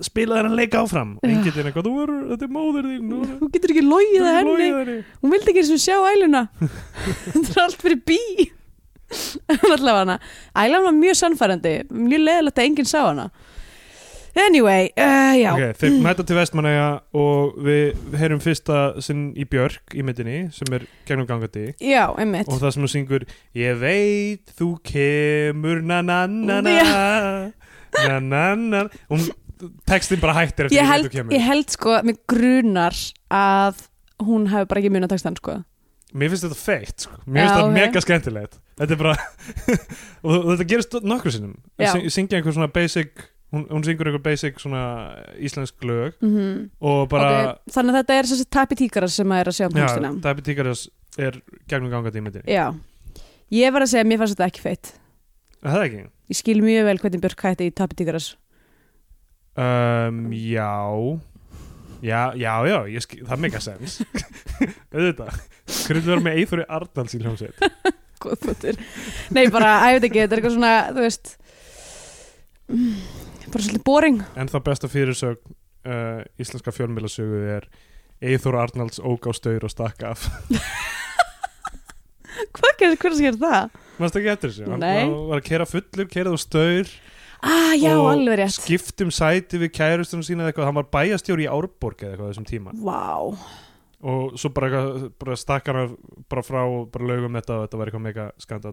Speaker 2: spila þennan leik áfram Engillin eitthvað, þú eru, þetta er móður þín Þú
Speaker 3: þú getur ekki logið að henni
Speaker 2: henni
Speaker 3: hún vildi ekki eins og sjá æluna þetta er allt fyrir bí allavega hana ælan var mjög sannfærandi, mjög leðilegt að enginn sá hana anyway, uh, já
Speaker 2: Ok, þeir mæta til vestmanæja og við heyrum fyrsta sinn í Björk í myndinni sem er gegnum gangandi
Speaker 3: já, einmitt
Speaker 2: og það sem hún syngur ég veit þú kemur na na na na na na na hún textin bara hættir eftir
Speaker 3: ég
Speaker 2: að þú
Speaker 3: held,
Speaker 2: kemur
Speaker 3: ég held sko, mig grunar að hún hafi bara ekki munið að texta hann sko
Speaker 2: Mér finnst þetta feitt, sko. mér
Speaker 3: Já,
Speaker 2: finnst þetta
Speaker 3: ok.
Speaker 2: mega skemmtilegt Þetta er bara og, og þetta gerist nokkur sinnum
Speaker 3: Já.
Speaker 2: Sy- Syngja einhver svona basic hún, hún syngur einhver basic svona íslensk lög
Speaker 3: mm
Speaker 2: og bara
Speaker 3: þannig að þetta er þessi tappi tíkara sem maður er að sjá um
Speaker 2: Já,
Speaker 3: textina
Speaker 2: Dabbi Tíkaras er gegnum gangandi í myndinni
Speaker 3: já, ég var að segja að mér fannst þetta ekki feitt
Speaker 2: Er það ekki?
Speaker 3: ég skil mjög vel hvernig Björk hætti í tappi tíkaras
Speaker 2: Um, já Já, já, já, ég skil, það er mega sens Auðvitað Hvernig verður með Eithori Ardals í hljómsveit
Speaker 3: Góðbútur. Nei, bara, að ég veit ekki, þetta er eitthvað svona, þú veist, mm, bara svolítið boring.
Speaker 2: En það besta fyrirsög uh, íslenska fjölmiðlasögu er Eithor Arnalds ók á staur og stakk af
Speaker 3: Hvað gerir, hvernig sker það?
Speaker 2: Mannst ekki eftir þessu? Hann-
Speaker 3: Nei.
Speaker 2: Hann var að kera fullur, kerað á staur
Speaker 3: Ah, já,
Speaker 2: og
Speaker 3: alveg rétt.
Speaker 2: skiptum sæti við kærustunum sína eða eitthvað, hann var bæjastjóri í Árborg eða eitthvað á þessum tíma
Speaker 3: Vá. Wow.
Speaker 2: og svo bara, eitthvað- bara stakkar hann bara frá og bara lögum þetta og þetta var eitthvað mega skandal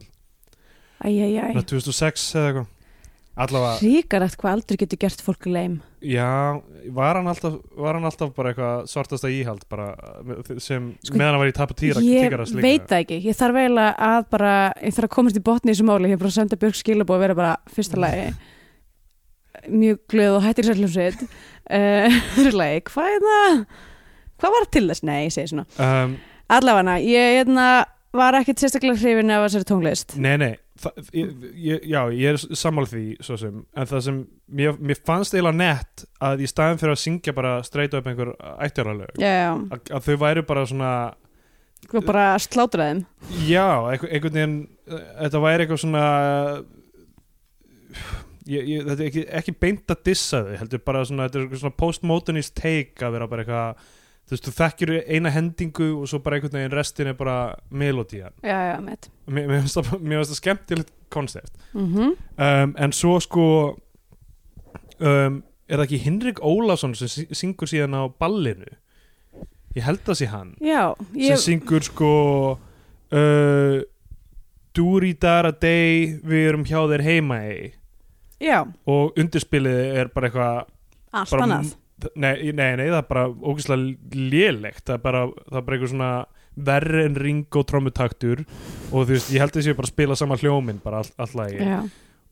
Speaker 3: Æj, æj,
Speaker 2: Ná, 2006 eða eitthvað
Speaker 3: æj.
Speaker 2: Allavega,
Speaker 3: Ríkarætt hvað aldrei getur gert fólk leim.
Speaker 2: já, var hann alltaf, var hann alltaf bara eitthvað svartasta íhald bara, uh, sem
Speaker 3: Sko,
Speaker 2: meðan hann var í tappa týra
Speaker 3: Ég veit það ekki. Ég þarf eiginlega að bara, ég þarf að komast í botni í þessu máli. Ég er bara að senda Björk skilabóð að vera bara fyrsta
Speaker 2: Mm.
Speaker 3: lagi. Mjög glöð og hættir sérlum sitt. Þú er Eh, lagi, hvað er það? Hvað var til þess? Nei, ég segi svona.
Speaker 2: um,
Speaker 3: Allavega, ég hérna, var ekkert sérstaklega hrifin af þessari tónlist.
Speaker 2: Nei, nei, það, ég, ég- já, ég er sammála því svo sem, en það sem mér, mér fannst eiginlega nett að í staðin fyrir að syngja bara straight up einhver ættjáralög
Speaker 3: Já, já,
Speaker 2: að, að þau væru bara svona
Speaker 3: ég var bara að slátra þeim.
Speaker 2: já, einhver- einhvern veginn eh, þetta væri eitthvað svona eh, ég, ég, þetta er ekki, ekki beint að dissa þau, heldur bara svona þetta er eitthvað svona postmodernist take að vera bara eitthvað þú veist, þú þekkir eina hendingu og svo bara einhvern veginn restin er bara melodían,
Speaker 3: Já, já, með.
Speaker 2: mér mér finnst það- mér finnst það skemmtilegt koncept
Speaker 3: Mm
Speaker 2: um, en svo sko um, er það ekki Hinrik Ólafsson sem sy- syngur síðan á ballinu ég held að sé hann
Speaker 3: Já, ég,
Speaker 2: sem syngur sko uh, Dúri dara dei við erum hjá þér heima ei
Speaker 3: já,
Speaker 2: og undirspilið er bara eitthvað
Speaker 3: allt
Speaker 2: bara-
Speaker 3: annað.
Speaker 2: nei, nei, nei, það er bara ógeðslega lélegt það er bara, það er bara eitthvað svona verri en ring og trommutaktur og þú veist, ég held að sé bara að spila sama hljóminn bara all, all lagi
Speaker 3: Já,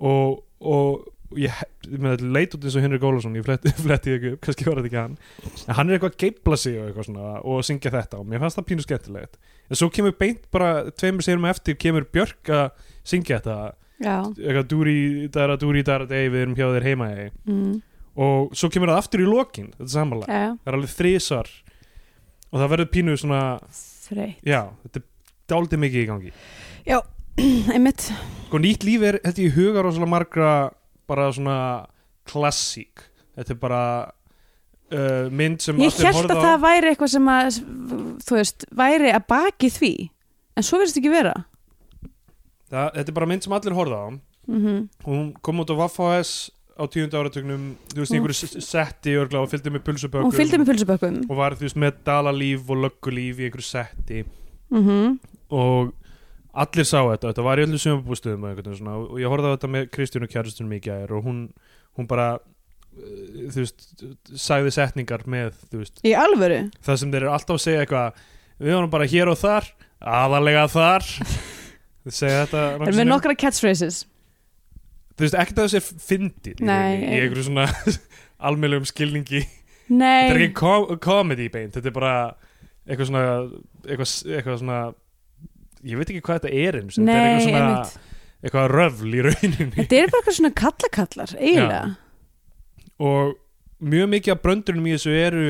Speaker 2: og, og ég, ég meina, þetta leit út eins og Henrik Ólafsson ég fletti, fletti því ekki upp, kannski var þetta ekki hann en hann er eitthvað að geipla sig og eitthvað svona og syngja þetta og mér fannst það pínu skemmtilegt en svo kemur beint bara, tveimur sérum eftir kemur Björk að syngja þetta
Speaker 3: já.
Speaker 2: eitthvað dúri, dara, dúri, dara, dei við erum hjá þér heima ei.
Speaker 3: Mm,
Speaker 2: og svo kemur það aftur í lokin þetta samanlega,
Speaker 3: já, já,
Speaker 2: það er alveg þrisar og það verður pínu svona
Speaker 3: þreyt.
Speaker 2: já, þetta er dálítið mikið í gangi
Speaker 3: Já, einmitt.
Speaker 2: Sko nýtt líf er, þetta ég huga rosalega margra bara svona klassík, þetta er bara uh, mynd sem
Speaker 3: Ég
Speaker 2: allir
Speaker 3: held
Speaker 2: horfðu
Speaker 3: að
Speaker 2: á
Speaker 3: það væri eitthvað sem að, þú veist, væri að baki því. En svo verðist ekki vera.
Speaker 2: það, þetta er bara mynd sem allir horfða á
Speaker 3: Mm
Speaker 2: hún kom út á Vaffahæs á tíundu áratugnum þú veist, í
Speaker 3: Hún-
Speaker 2: einhverju s- setti örgla og fylgdi með pulsubökum
Speaker 3: Hún fylgdi með pulsubökkum.
Speaker 2: og var þú veist með dalalíf og löggulíf í einhverju setti
Speaker 3: Mm
Speaker 2: og allir sá þetta, þetta var í öllu sumabústuðum og, einhvern veginn svona, og ég horfði á þetta með Kristjánu kjæristunum í gær og hún, hún bara eh, þú veist, sagði setningar með, þú veist,
Speaker 3: Í alvöru.
Speaker 2: það sem þeir eru alltaf að segja eitthvað við vorum bara hér og þar, aðalega þar þeir segja þetta
Speaker 3: En með nokkra catchphrases.
Speaker 2: þú veist, ekkert að þessi er fyndið í
Speaker 3: Nei,
Speaker 2: rauninni, í
Speaker 3: ei.
Speaker 2: einhverju svona almennlegum skilningi
Speaker 3: Nei.
Speaker 2: þetta er ekki kom komedi beint, þetta er bara eitthvað svona eitthvað, eitthvað svona ég veit ekki hvað þetta er eins og þetta er
Speaker 3: Nei,
Speaker 2: eitthvað svona
Speaker 3: einmitt.
Speaker 2: eitthvað röfl í rauninni
Speaker 3: Þetta eru bara eitthvað svona kallakallar, eiginlega.
Speaker 2: og mjög mikið af bröndunum í þessu eru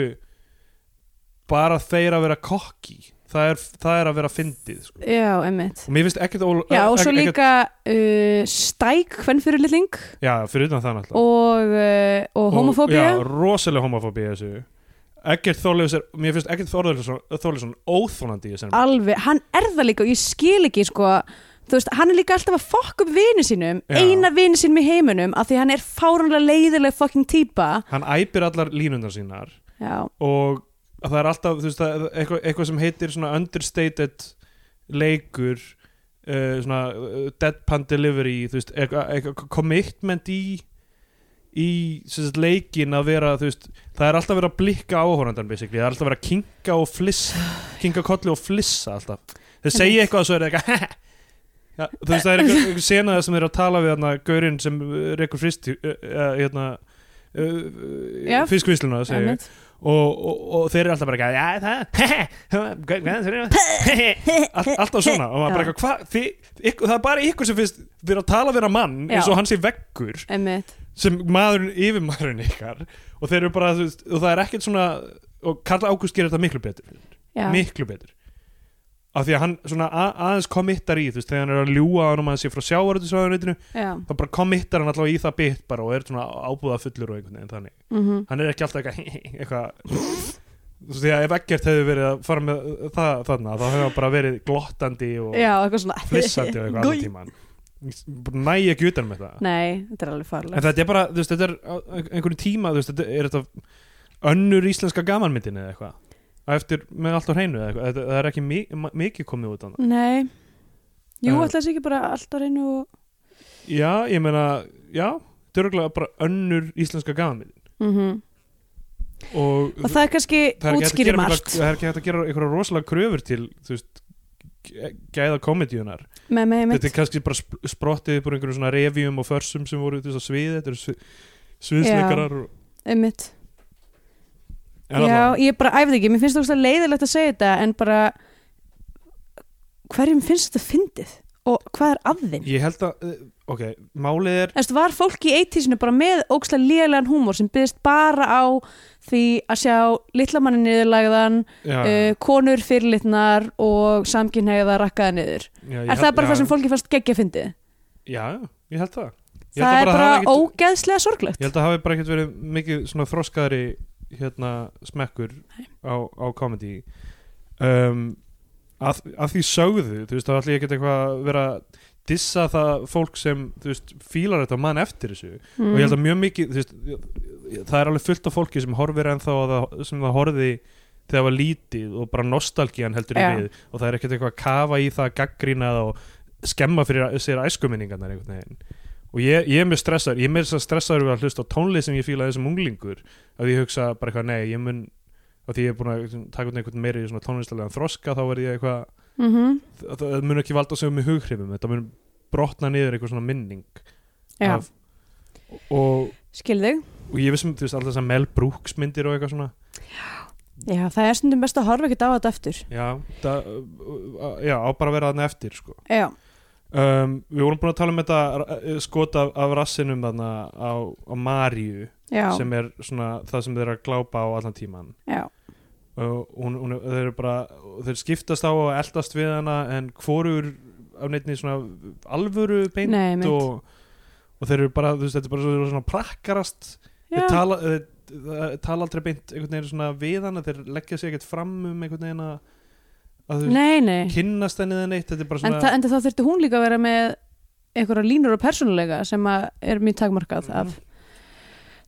Speaker 2: bara þeir að vera kokki það er, það er að vera fyndið sko.
Speaker 3: Já, emmitt.
Speaker 2: og mér finnst ekkert ól-
Speaker 3: Já, og svo
Speaker 2: ekkert-
Speaker 3: líka uh, stæk hvern fyrir litling
Speaker 2: já, fyrir utan það náttúrulega
Speaker 3: og, uh, og homofóbía.
Speaker 2: já, rosalega homofóbía í þessu ekkert þorleifis er, mér finnst ekkert þorleifisson óþónandi í þessu
Speaker 3: Alveg, hann er það líka og ég skil ekki, sko, þú veist, hann er líka alltaf að fokk upp vini sínum,
Speaker 2: Já.
Speaker 3: eina vini sínum í heiminum, af því hann er fáránlega leiðileg fucking típa.
Speaker 2: hann æpir allar línundar sínar
Speaker 3: Já,
Speaker 2: og það er alltaf þú veist, það, eitthvað, eitthvað sem heitir svona understated leikur eh, uh, svona uh, deadpan delivery þú veist, eitthvað, eitthvað commitment í í sem sagt, leikin að vera þú veist, það er alltaf verið að blikka áhórandan basically, það er alltaf verið að kinka og flissa kinka kolli og flissa alltaf þeir segja eitthvað og svo er það eitthvað ja, þú veist það er einhver, einhver sena þar sem þeir eru að tala við hérna gaurinn sem uh, rekur frist uh, uh, hérna
Speaker 3: Já.
Speaker 2: uh, fiskvisluna segja ég
Speaker 3: einmitt.
Speaker 2: og, og, og þeir eru alltaf bara eitthvað, já það hvað- hvað þeir eru All- alltaf svona og maður bara eitthvað, hvað þið- ykkur- það er bara ykkur sem finnst þeir eru að tala vera mann eins
Speaker 3: Já.
Speaker 2: og hann sé veggur
Speaker 3: Einmitt.
Speaker 2: sem maðurinn yfir maðurinn ykkar og þeir eru bara, þú veist, og það er ekkert svona og Karl Ágúst gerir þetta miklu betur
Speaker 3: Já.
Speaker 2: miklu betur af því að hann svona a- aðeins komittar í þú veist, þegar hann er að ljúga hann um að hann sé frá sjávaröðisvæðunitinu
Speaker 3: Já.
Speaker 2: þá bara komittar hann allavega í það bit bara og er svona ábúða fullur og einhvern veginn þannig
Speaker 3: mhm.
Speaker 2: hann er ekki alltaf eitthvað, eitthvað þú veist, því að ef ekkert hefði verið að fara með það þarna, þá hefði hann bara verið glottandi og
Speaker 3: Já, eitthvað svona
Speaker 2: flissandi og eitthvað annan tíman næ ekki utan með það
Speaker 3: Nei, þetta er alveg
Speaker 2: en
Speaker 3: farlegt
Speaker 2: þetta er bara, þú veist, þetta er á einhvern tíma, þú veist, þetta er þetta önnur íslenska gamanmyndin eða eitthvað Á eftir með allt á hreinu eða eitthvað Þetta- það er ekki mi ma- mikið komið út á það
Speaker 3: Nei Jú,
Speaker 2: Eh.
Speaker 3: ætla þessi ekki bara allt á reynu og... Mm.
Speaker 2: já, ég meina, já, þetta er örugglega bara önnur íslenska gamanmyndin
Speaker 3: Mm
Speaker 2: og,
Speaker 3: og það er kannski
Speaker 2: Mhm. það er ekki hægt að
Speaker 3: útskýri
Speaker 2: gera
Speaker 3: margt
Speaker 2: mikla- það er ekki hægt að gera einhverja rosalega kröfur til þú veist gæ- gæða komediunar
Speaker 3: með með
Speaker 2: þetta
Speaker 3: mitt
Speaker 2: er kannski bara sp- sprottið upp úr einhverjum svona revjum og försum sem voru þess að svið þetta eru svi sviðsleikarar og-
Speaker 3: einmitt.
Speaker 2: En
Speaker 3: Já,
Speaker 2: allavega.
Speaker 3: ég bara æfði ekki, mér finnst það leiðilegt að segja þetta en bara hverjum finnst þetta fyndið og hvað er af þeim?
Speaker 2: ég held að, eh, ok, málið er
Speaker 3: Eftir, var fólk í 80-sinu bara með ókslega lélegan húmor sem byggðist bara á því að sjá litlamannin niðurlagðan,
Speaker 2: já,
Speaker 3: uh, konur fyrirlitnar og samkynhæða rakkaða niður.
Speaker 2: já, ég
Speaker 3: Er
Speaker 2: held-
Speaker 3: það bara
Speaker 2: já,
Speaker 3: það sem fólki fannst geggja fyndið?
Speaker 2: já, ég held það Ég held
Speaker 3: Það
Speaker 2: að
Speaker 3: er
Speaker 2: bara
Speaker 3: bara
Speaker 2: hafi ekkert-
Speaker 3: ógeðslega sorglegt.
Speaker 2: ég held að hafi bara ekkert verið mikið svona þroskaðri hérna smekkur á, á komedi um, að, að því sögðu þú veist þá ætla ég ekkert eitthvað að vera að dissa það fólk sem þú veist fílar þetta mann eftir þessu og
Speaker 3: Mm.
Speaker 2: ég held að mjög mikið þú veist, það er alveg fullt af fólki sem horfir ennþá að það, sem það horfi þegar það var lítið og bara nostalgían heldur
Speaker 3: Já.
Speaker 2: við og það er ekkert eitthvað að kafa í það gaggrínað og skemma fyrir sér æskuminningarnar einhvern veginn og ég, ég er mjög stressar, ég er mér stressar við að hlusta á tónlist sem ég fílaði sem unglingur að ég hugsa bara eitthvað, nei, ég mun að því ég er búin að taka út einhvern meiri svona tónlistalega þroska, þá verði ég eitthvað
Speaker 3: mm
Speaker 2: það- það mun ekki valda sig með hughrifum þetta mun brotna niður eitthvað svona minning
Speaker 3: Já,
Speaker 2: af, og
Speaker 3: skil þig.
Speaker 2: og ég vissum, þú veist, alltaf þess að Mel Brooks myndir og eitthvað svona
Speaker 3: Já, það er stundum best að horfa ekkert á þetta eftir.
Speaker 2: já, það, uh, já á bara að vera þarna eftir sko.
Speaker 3: Já,
Speaker 2: um, við vorum búin að tala um þetta uh, skot af, af rassinum þarna á, á Maríu
Speaker 3: já,
Speaker 2: sem er svona það sem þeir eru að glápa á allan tíman
Speaker 3: já.
Speaker 2: og hún, hún, þeir eru bara þeir skiptast á og eldast við hana en hvorur af neittni svona alvöru beint
Speaker 3: Nei, einmitt.
Speaker 2: og, og þeir eru bara, þú veist, þetta er bara svo- svona prakkarast
Speaker 3: Já.
Speaker 2: þeir tala, þeir, þeir tala aldrei beint einhvern veginn svona við hana þeir leggja sig ekkert fram um einhvern veginn að, að þeir
Speaker 3: Nei, nei.
Speaker 2: kynnast henni eða neitt þetta er bara
Speaker 3: En,
Speaker 2: svona
Speaker 3: þa en þá þurfti hún líka að vera með einhverja línur og persónuleika sem að er mjög takmarkað af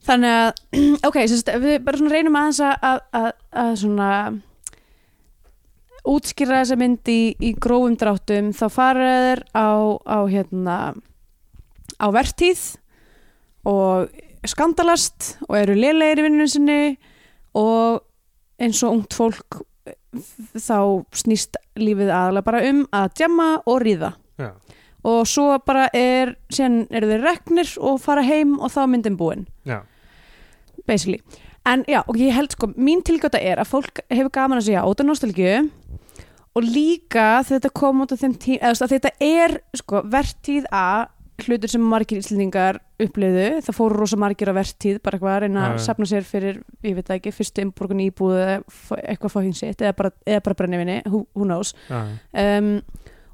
Speaker 3: þannig að, ok, sérst, við bara svona reynum aðeins að, að, að, að svona útskýra þessa mynd í, í grófum dráttum þá fara þeir á, á hérna á vertíð og skandalast og eru lélegir í vinnunum sinni og eins og ungt fólk þá snýst lífið aðalega bara um að djamma og ríða
Speaker 2: já,
Speaker 3: og svo bara er síðan eru þeir reknir og fara heim og þá er myndin búin
Speaker 2: já,
Speaker 3: basically. En já, og ég held sko mín tilgjóta er að fólk hefur gaman að segja óta nostalgju og líka þetta kom út á þeim tíma eða þú veist, að þetta er sko vertíð að hlutur sem margir íslendingar upplifðu, það fóru rosa margir á vertíð bara eitthvað að
Speaker 2: Já,
Speaker 3: reyna að
Speaker 2: já.
Speaker 3: sapna sér fyrir ég veit það ekki, fyrstu innborgun íbúð eða f- eitthvað fókin sitt, eða bara, eða bara brennivinni who, who knows
Speaker 2: já,
Speaker 3: um,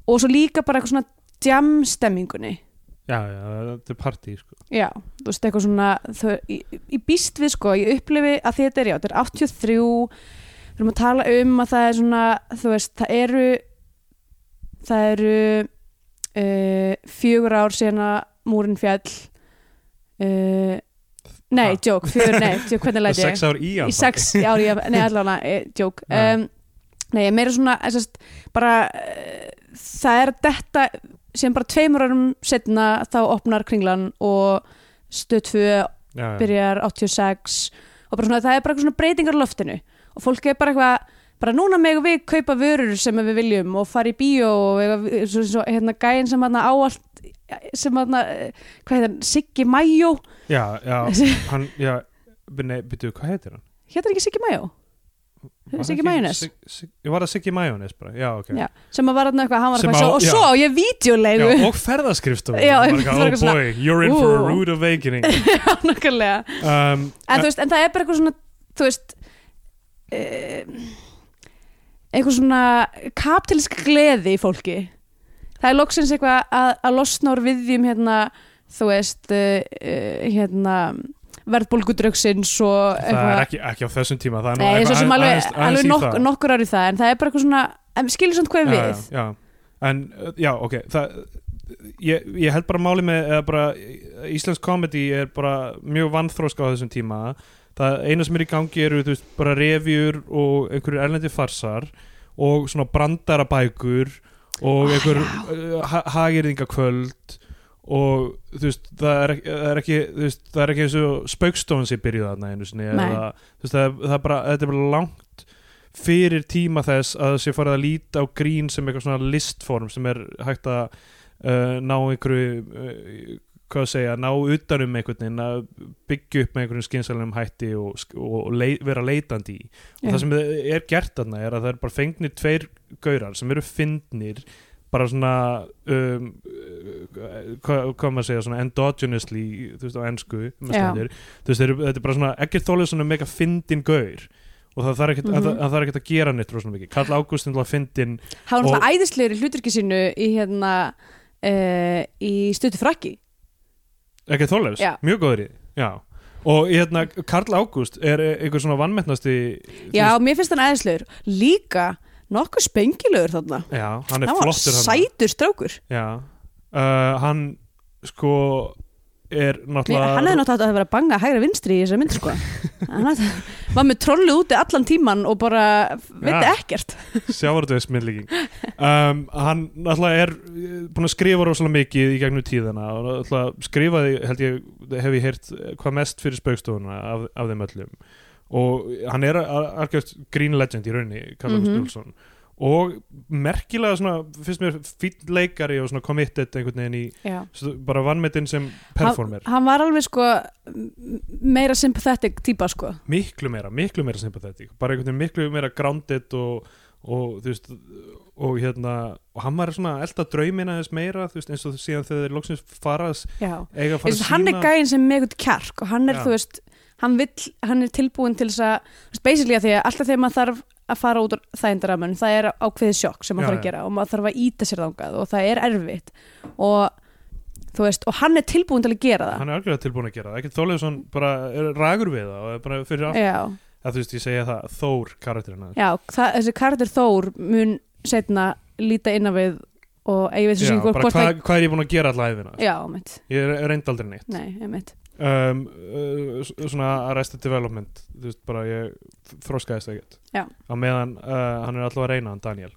Speaker 3: og svo líka bara eitthvað svona jamstemmingunni
Speaker 2: já, já þetta er partí sko.
Speaker 3: já, þú veist eitthvað svona þau, ég, ég býst við sko, ég upplifi að því þetta er já, þetta er 83 við erum að tala um að það er svona þú veist, það eru það eru uh, fjögur ár síðan að múrin fjall uh, nei,
Speaker 2: Ha?
Speaker 3: joke, fjögur, nei joke, hvernig
Speaker 2: Það er
Speaker 3: læti ég?
Speaker 2: sex ár í hann
Speaker 3: í sex ári, ég- nei allavega, eh, joke
Speaker 2: Já.
Speaker 3: um, nei, ég meira svona eh, sest, bara, uh, það er þetta sem bara tveimur árum setna þá opnar kringlan og stöð tvö
Speaker 2: já, já.
Speaker 3: byrjar 86 og bara svona, það er bara eitthvað svona breytingar á loftinu og fólk er bara eitthvað bara núna megum við kaupa vörur sem við viljum og fara í bíó og eitthvað, svo, svo, hérna gæinn sem hérna áallt sem hérna, eh, hvað heitir hann, Siggi Majó
Speaker 2: já, já,
Speaker 3: Þessi-
Speaker 2: hann, já Nei, byrju, hvað heitir hann?
Speaker 3: hérna ekki Siggi Majó
Speaker 2: Var það
Speaker 3: Siggi
Speaker 2: ekki
Speaker 3: Majónes?
Speaker 2: Sig- Sig- Ég var það Siggi Majónes bara, já, ok
Speaker 3: Já, sem að var hérna eitthvað, hann var
Speaker 2: Sem
Speaker 3: eitthvað
Speaker 2: á-
Speaker 3: svo, og
Speaker 2: já.
Speaker 3: svo á ég
Speaker 2: Já,
Speaker 3: videolegu
Speaker 2: og ferðaskrifstofu
Speaker 3: Já,
Speaker 2: Bara
Speaker 3: einmitt,
Speaker 2: eitthvað,
Speaker 3: það var eitthvað
Speaker 2: Oh boy, you're in for a
Speaker 3: Ú.
Speaker 2: rude awakening
Speaker 3: já, nákvæmlega
Speaker 2: um,
Speaker 3: en, þú veist, en það er bara eitthvað svona þú veist um, eitthvað svona kapitalisk gleði í fólki það er loksins eitthvað að, að losna úr viðjum hérna þú veist uh, uh, hérna verðbólgudraugsins og
Speaker 2: Það er
Speaker 3: eitthvað
Speaker 2: ekki, ekki á þessum tíma Það er nú
Speaker 3: Nei, svo
Speaker 2: eitthvað
Speaker 3: sem alveg,
Speaker 2: aðeins- aðeins
Speaker 3: alveg
Speaker 2: í
Speaker 3: nokk,
Speaker 2: það.
Speaker 3: nokkur árið það en það er bara eitthvað svona, en skilur svona hvað er
Speaker 2: Já, já,
Speaker 3: við
Speaker 2: já. en uh, já, ok það, ég, ég held bara máli með eða bara, íslensk komedi er bara mjög vannþróska á þessum tíma það eina sem er í gangi eru þú veist, bara revjur og einhverjir erlendi farsar og svona brandarabækur og einhver uh, ha hagirðingakvöld og þú veist það er, ekki- það er ekki þú veist, það er ekki eins og spaukstofan sem byrjuð þarna einu sinni
Speaker 3: Nei.
Speaker 2: eða, þú veist, það, er- það er bara, þetta er bara langt fyrir tíma þess að sé farið að líta á grín sem eitthvað svona listform sem er hægt að uh, ná einhverju uh, hvað að segja, ná utan um einhvern veginn að byggja upp með einhverjum skynsalum hætti og, sk- og lei, vera leitandi í og það sem er gert þarna er að það er bara fengnir tveir gaurar sem eru fyndnir bara svona um, uh, hvað hvað maður að segja svona endogenously, þú veist á ennsku
Speaker 3: Já.
Speaker 2: stendur, þú veist, þeir, eru- þetta er bara svona ekkert þólið svona mega fyndin gaur og það þarf ekkert mm
Speaker 3: Mhm.
Speaker 2: -hmm. að, að, að gera neitt rosalega mikið, Karl Ágústin var fyndin
Speaker 3: það var
Speaker 2: Og-
Speaker 3: náttúrulega æðislegur í hluturki sínu í hérna uh, í stötu frakki
Speaker 2: ekkert þólið,
Speaker 3: Já.
Speaker 2: mjög góður í því, já og hérna, Karl Ágúst er einhver svona vannmettnasti
Speaker 3: Já, mér finnst hann aðeinslegur Líka nokkuð spengilegur þarna
Speaker 2: já, hann er
Speaker 3: Hann var
Speaker 2: flottur hann
Speaker 3: sætur strákur
Speaker 2: Já, uh, hann sko er
Speaker 3: Nei,
Speaker 2: náttúrulega
Speaker 3: Hann hefði náttúrulega átt að vera að banga hægra vinstri í þessari mynd sko. Hann hefði, var með trollu úti allan tíman og bara veit
Speaker 2: Já.
Speaker 3: ekkert
Speaker 2: sjávartöðsmyndlíking um, hann náttúrulega er eh, búinn að skrifa rosalega mikið í gegnum tíðina og náttúrulega skrifaði held ég hef ég heyrt eh, hvað mest fyrir spaukstofuna af, af þeim öllum og hann er al- algjört green legend í raunni Karl August
Speaker 3: Mhm.
Speaker 2: Júlsson og merkilega svona finnst mér fýtt leikari og svona committed einhvern veginn í
Speaker 3: Já.
Speaker 2: svo bara vannmetinn sem performer
Speaker 3: Hann var alveg sko m- meira sympathetic típa sko
Speaker 2: miklu meira, miklu meira sympathetic bara einhvern veginn miklu meira grounded og, og þú veist og hérna, og hann var svona að elda draumina þess meira, þú veist, eins og síðan þegar þeir loksins faras,
Speaker 3: Já.
Speaker 2: eiga að fara
Speaker 3: Þessi, hann er
Speaker 2: að sína
Speaker 3: gæinn sem er með eitthvað kjark og hann er,
Speaker 2: Já.
Speaker 3: þú veist, hann, vill, hann er tilbúin til þess að, þú veist, basically að því að alltaf þegar maður þarf að fara út úr þægindaramun það er ákveðið sjokk sem maður
Speaker 2: Já,
Speaker 3: þarf að
Speaker 2: já.
Speaker 3: gera og maður þarf að íta sér þangað og það er erfitt og þú veist, og hann er tilbúin til að gera það
Speaker 2: hann er algjörlega tilbúin að gera það, ekkert þólega svona bara er ragur við það og er bara fyrir allt,
Speaker 3: já,
Speaker 2: að þú veist, ég segja það Þór karakterina,
Speaker 3: já það, þessi Carter Thór mun setna líta innan við og ég veit þessi
Speaker 2: bara hvað, hvað er ég búin að gera alltaf æfina,
Speaker 3: já, mitt,
Speaker 2: ég er, er reynd aldrei neitt
Speaker 3: nei, mitt
Speaker 2: um, uh, s- svona arrested development þú veist bara ég þróskaðist ekkert
Speaker 3: Já.
Speaker 2: á meðan uh, hann er alltaf að reyna hann Daniel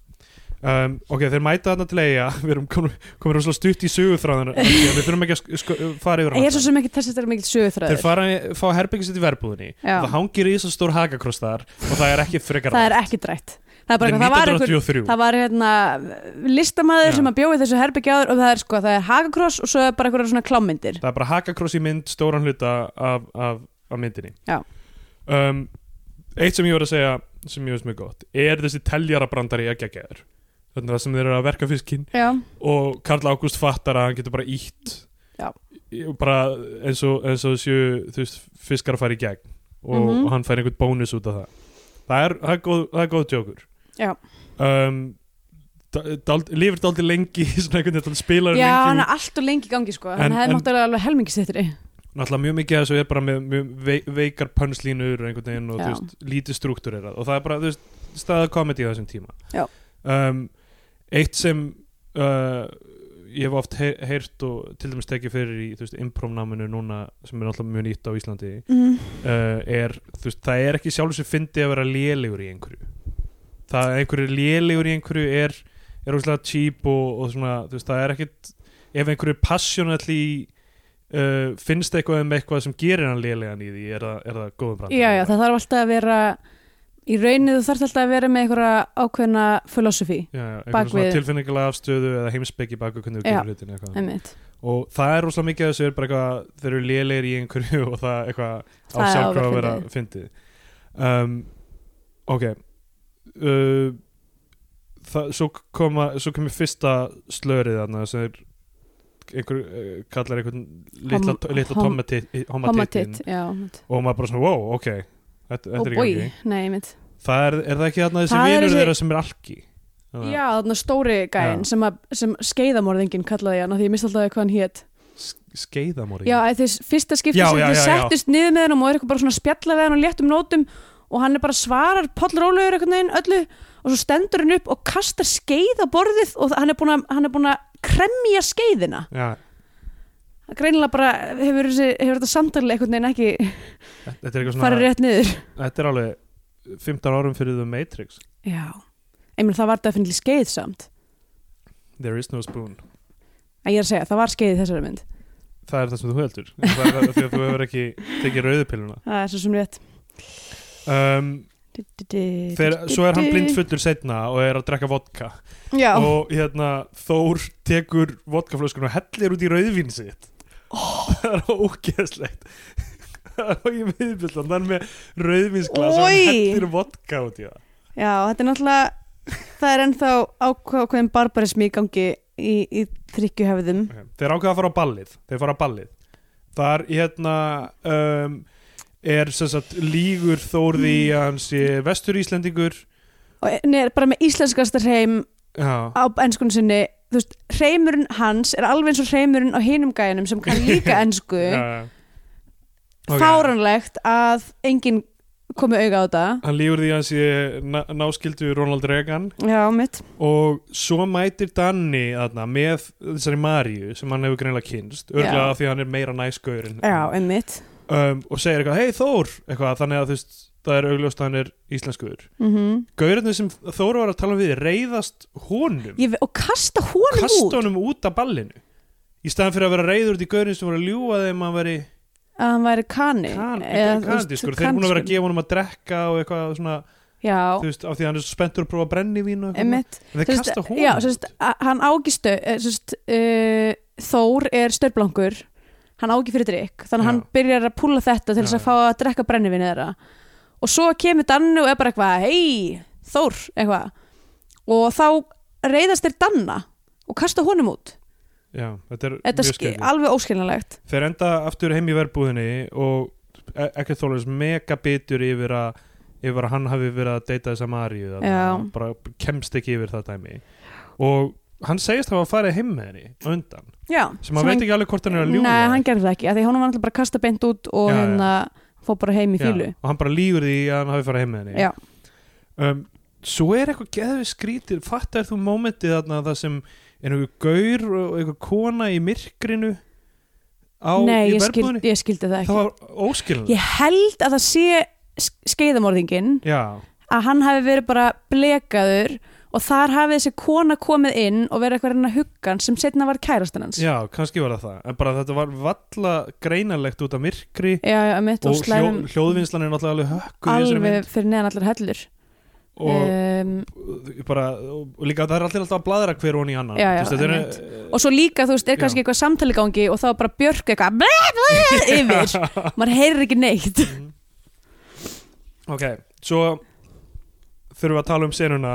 Speaker 2: um, ok þeir mæta þarna til eiga við erum komin, komin rosalega stutt í söguþráðan við þurfum ekki að sk- sk- fara yfir
Speaker 3: ég er svo
Speaker 2: hann
Speaker 3: sem ekki þess að þetta er mikill sögurþröður
Speaker 2: þeir fara, fá herbyggis í verbúðinni
Speaker 3: Já.
Speaker 2: það hangir í þessu stór hakakross þar og það er ekki frekar
Speaker 3: það er ekki drætt það er bara,
Speaker 2: Þetta
Speaker 3: eitthvað, það var
Speaker 2: er
Speaker 3: einhver
Speaker 2: 1983
Speaker 3: það var hérna listamaður
Speaker 2: Já.
Speaker 3: sem að bjóði þessu herbyggja áður og það er sko, það er hakakross og svo er bara eitthvað svona klámyndir
Speaker 2: það er bara hakakross í mynd stóran hluta af, af, af myndinni
Speaker 3: Já.
Speaker 2: um, eitt sem ég var að segja sem ég veist mjög gott er þessi teljarabrandari ekki að geður þannig að það sem þeir eru að verka fiskinn
Speaker 3: já,
Speaker 2: og Karl Ágúst fattar að hann getur bara ítt
Speaker 3: Já.
Speaker 2: Í- bara eins og, eins og þessu þú veist, fiskar að fara í gegn og,
Speaker 3: Mhm.
Speaker 2: og hann fær einhvern bónus út af það það er, það er, góð, það er góð tjókur
Speaker 3: Já.
Speaker 2: um, da- dald, lifir daldi lengi svona einhvern veginn spilar
Speaker 3: já
Speaker 2: lengi
Speaker 3: hann
Speaker 2: út.
Speaker 3: er allt og lengi í gangi sko,
Speaker 2: En-
Speaker 3: hann hefði
Speaker 2: en-
Speaker 3: náttúrulega alveg helmingisittri
Speaker 2: náttúrulega mjög mikið af þessu er bara með mjög vei- veikar pönslínur og einhvern veginn og þú
Speaker 3: Já.
Speaker 2: veist, lítið struktúrerað og það er bara þú veist, staða komedi á þessum tíma
Speaker 3: Já.
Speaker 2: um, eitt sem uh, ég hef oft heyr- heyrt og til dæmis tekið fyrir í þú veist, improvnáminu núna sem er náttúrulega mjög nýtt á Íslandi
Speaker 3: mm.
Speaker 2: uh, er, þú veist, það er ekki sjálf sem fyndi að vera lélegur í einhverju það að einhverju er lélegur í einhverju er, er óslega cheap og, og svona, þú veist, það er ekkit ef einhverju er passionately uh, finnst eitthvað um eitthvað sem gerir hann lélegan í því er það, er það góðum brandari
Speaker 3: já, já, það þarf alltaf að vera í rauninni þú þarf alltaf að vera með einhverja ákveðna filosofi,
Speaker 2: Já, já, einhvern
Speaker 3: Bak
Speaker 2: svona
Speaker 3: við-
Speaker 2: tilfinningilega afstöðu eða heimsbyggi baku hvernig þú
Speaker 3: Já.
Speaker 2: gerir hlutin eitthvað
Speaker 3: einmitt
Speaker 2: og það er rosalega mikið af þessu er bara eitthvað þeir eru lélegir í einhverju og það eitthvað á
Speaker 3: Það er
Speaker 2: sjálf hvað að
Speaker 3: ofur
Speaker 2: vera fyndið um, ok uh, það, svo koma svo kemur fyrsta slörið þarna sem er einhver, uh, kallar einhvern litla,
Speaker 3: Hom-
Speaker 2: litla
Speaker 3: hom-
Speaker 2: homatitin
Speaker 3: homatitt, já einmitt.
Speaker 2: og maður bara svona wow, ok þetta,
Speaker 3: og
Speaker 2: þetta er
Speaker 3: bói,
Speaker 2: ekki
Speaker 3: nei, einmitt
Speaker 2: það er, er það ekki þarna þessi
Speaker 3: Oh, Það er
Speaker 2: vinur
Speaker 3: þessi-
Speaker 2: þeirra sem er alki Þarna,
Speaker 3: já, þannig stóri gæinn
Speaker 2: Já.
Speaker 3: sem, að- sem skeiðamorðingin kallaði hann af því ég misti alltaf hvað hann hét
Speaker 2: sk- skeiðamorðingi.
Speaker 3: Já, eða þess fyrsta skipti
Speaker 2: Já,
Speaker 3: sem
Speaker 2: já,
Speaker 3: þið
Speaker 2: já, já.
Speaker 3: settist niður með hann og er eitthvað bara svona að spjalla við hann og léttum nótum og hann er bara svarar pollrólegur einhvern veginn öllu og svo stendur hann upp og kastar skeið á borðið og þa- hann er búin að, hann er búin að kremja skeiðina.
Speaker 2: já,
Speaker 3: Það greinilega bara hefur, þessi, hefur þetta samtalið einhvern veginn ekki
Speaker 2: þetta er eitthvað
Speaker 3: farið
Speaker 2: svona
Speaker 3: rétt niður.
Speaker 2: þetta er alveg 15 árum fyrir The Matrix
Speaker 3: Já, einmitt það var definitíli skeið samt.
Speaker 2: There is no spoon
Speaker 3: En ég er að segja, það var skeið í þessari mynd.
Speaker 2: það er það sem þú heldur það er það því að þú hefur ekki tekið rauðupilluna
Speaker 3: Það er svo sem rétt.
Speaker 2: um, þegar, svo er hann blindfullur setna og er að drekka vodka
Speaker 3: Já,
Speaker 2: og hérna Þór tekur vodkaflöskun og hellir út í rauðvín sitt
Speaker 3: Oh.
Speaker 2: það er ógeðslegt og ég miðbjöldan það er með rauðvinsglas og hann
Speaker 3: Oj.
Speaker 2: hellir vodka út í það
Speaker 3: Já, þetta er náttúrulega það er ennþá ákveðin barbarismi í gangi í, í tryggjuhefðum
Speaker 2: okay. þeir ákveða að fara á ballið þeir fara á ballið þar hérna um, er sem sagt lígur þórði að hann sé vestur Íslendingur
Speaker 3: og e- nei, bara með íslenskasta hreim
Speaker 2: já,
Speaker 3: á enskun sinni þú veist, hreimurinn hans er alveg eins og hreimurinn á hinum gæjanum sem kann líka ensku
Speaker 2: já, já. Ok.
Speaker 3: fáranlegt að enginn komi auga á þetta
Speaker 2: hann lígur því að hann sé ná- náskyldu Ronald Reagan
Speaker 3: Já, mitt
Speaker 2: og svo mætir Danni þarna, með þessari Maríu sem hann hefur greinlega kynst, örglega
Speaker 3: Já.
Speaker 2: af því að hann er meira næskaur en
Speaker 3: Já, einmitt
Speaker 2: um, og segir eitthvað, hei Þór eitthvað, þannig að þú veist, það er augljóst að hann er íslenskuður
Speaker 3: mm
Speaker 2: Gaurinu sem Þór var að tala um við reyðast honum
Speaker 3: Ég, ve- Og kasta honum
Speaker 2: kasta
Speaker 3: út
Speaker 2: honum út af ballinu í staðan fyrir að vera reyður út í gaurin sem voru að ljúa þeim að veri
Speaker 3: að hann væri kani
Speaker 2: kanadískur, þeir eru búin að vera að gefa honum að drekka og eitthvað svona,
Speaker 3: Já,
Speaker 2: þú veist, af því að hann er svo spenntur að prófa að brenni vín og eitthvað,
Speaker 3: einmitt
Speaker 2: en þeir
Speaker 3: Sest,
Speaker 2: kasta honum
Speaker 3: já, sest, hann ágistu sest, uh, Þór er störblangur hann ági fyrir drikk þannig
Speaker 2: Já.
Speaker 3: að hann byrjar að púla þetta til þess
Speaker 2: Já,
Speaker 3: að fá að drekka brennivinni þeirra og svo kemur Danni og er bara eitthvað hei, Þór, eitthvað og þá reyðast þeir Danna og kasta honum út
Speaker 2: já, þetta er
Speaker 3: þetta
Speaker 2: mjög
Speaker 3: er
Speaker 2: skemmt
Speaker 3: alveg óskiljanlegt
Speaker 2: þeir enda aftur heim í verbúðinni og e- ekkert þólaðis mega bitur yfir að yfir að hann hafi verið að deyta þessa Maríu þarna.
Speaker 3: Já.
Speaker 2: Hann bara kemst ekki yfir það dæmi og hann segist hafa farið heim með henni á undan,
Speaker 3: já,
Speaker 2: sem hann veit ekki alveg hvort hann er að ljúga
Speaker 3: nei, hann gerði það ekki, af því honum var alltaf bara að kasta beint út
Speaker 2: Já,
Speaker 3: og
Speaker 2: já.
Speaker 3: hérna fór bara heim í
Speaker 2: Já,
Speaker 3: fílu
Speaker 2: og hann bara lífur því að hann hafi farið heim með henni
Speaker 3: Já.
Speaker 2: um, svo er eitthvað geðvið skrítir fattar þú mómentið þarna það sem er einhver gaur og einhver kona í myrkrinu á
Speaker 3: nei,
Speaker 2: í
Speaker 3: ég, skil,
Speaker 2: verbúðinni
Speaker 3: ég skildi það ekki
Speaker 2: það var óskilin
Speaker 3: Ég held að það sé sk- skeiðamorðingin
Speaker 2: já,
Speaker 3: að hann hafi verið bara blekaður og þar hafi þessi kona komið inn og verið eitthvað að reyna að hugga hann sem setna var kærastan hans.
Speaker 2: já, kannski var það það en bara þetta var valla greinalegt út af myrkri
Speaker 3: já, já mitt
Speaker 2: og
Speaker 3: og, og
Speaker 2: hljó,
Speaker 3: slæðum
Speaker 2: hljóðvinnslan er náttúrulega alveg hökkuð í þessari
Speaker 3: alveg
Speaker 2: mynd
Speaker 3: fyrir neðan allar hellur.
Speaker 2: og,
Speaker 3: um,
Speaker 2: bara, og líka það er allir alltaf að bladra hver hon í annan
Speaker 3: Já, já,
Speaker 2: Þú veist, þetta er-
Speaker 3: og svo líka, þú veist, er kannski
Speaker 2: Eh, Já.
Speaker 3: eitthvað samtali í gangi og þá er bara björk eitthvað bleh, bleh, yfir. Maður heyrir ekki neitt.
Speaker 2: Ok, svo þurfum við að tala um senuna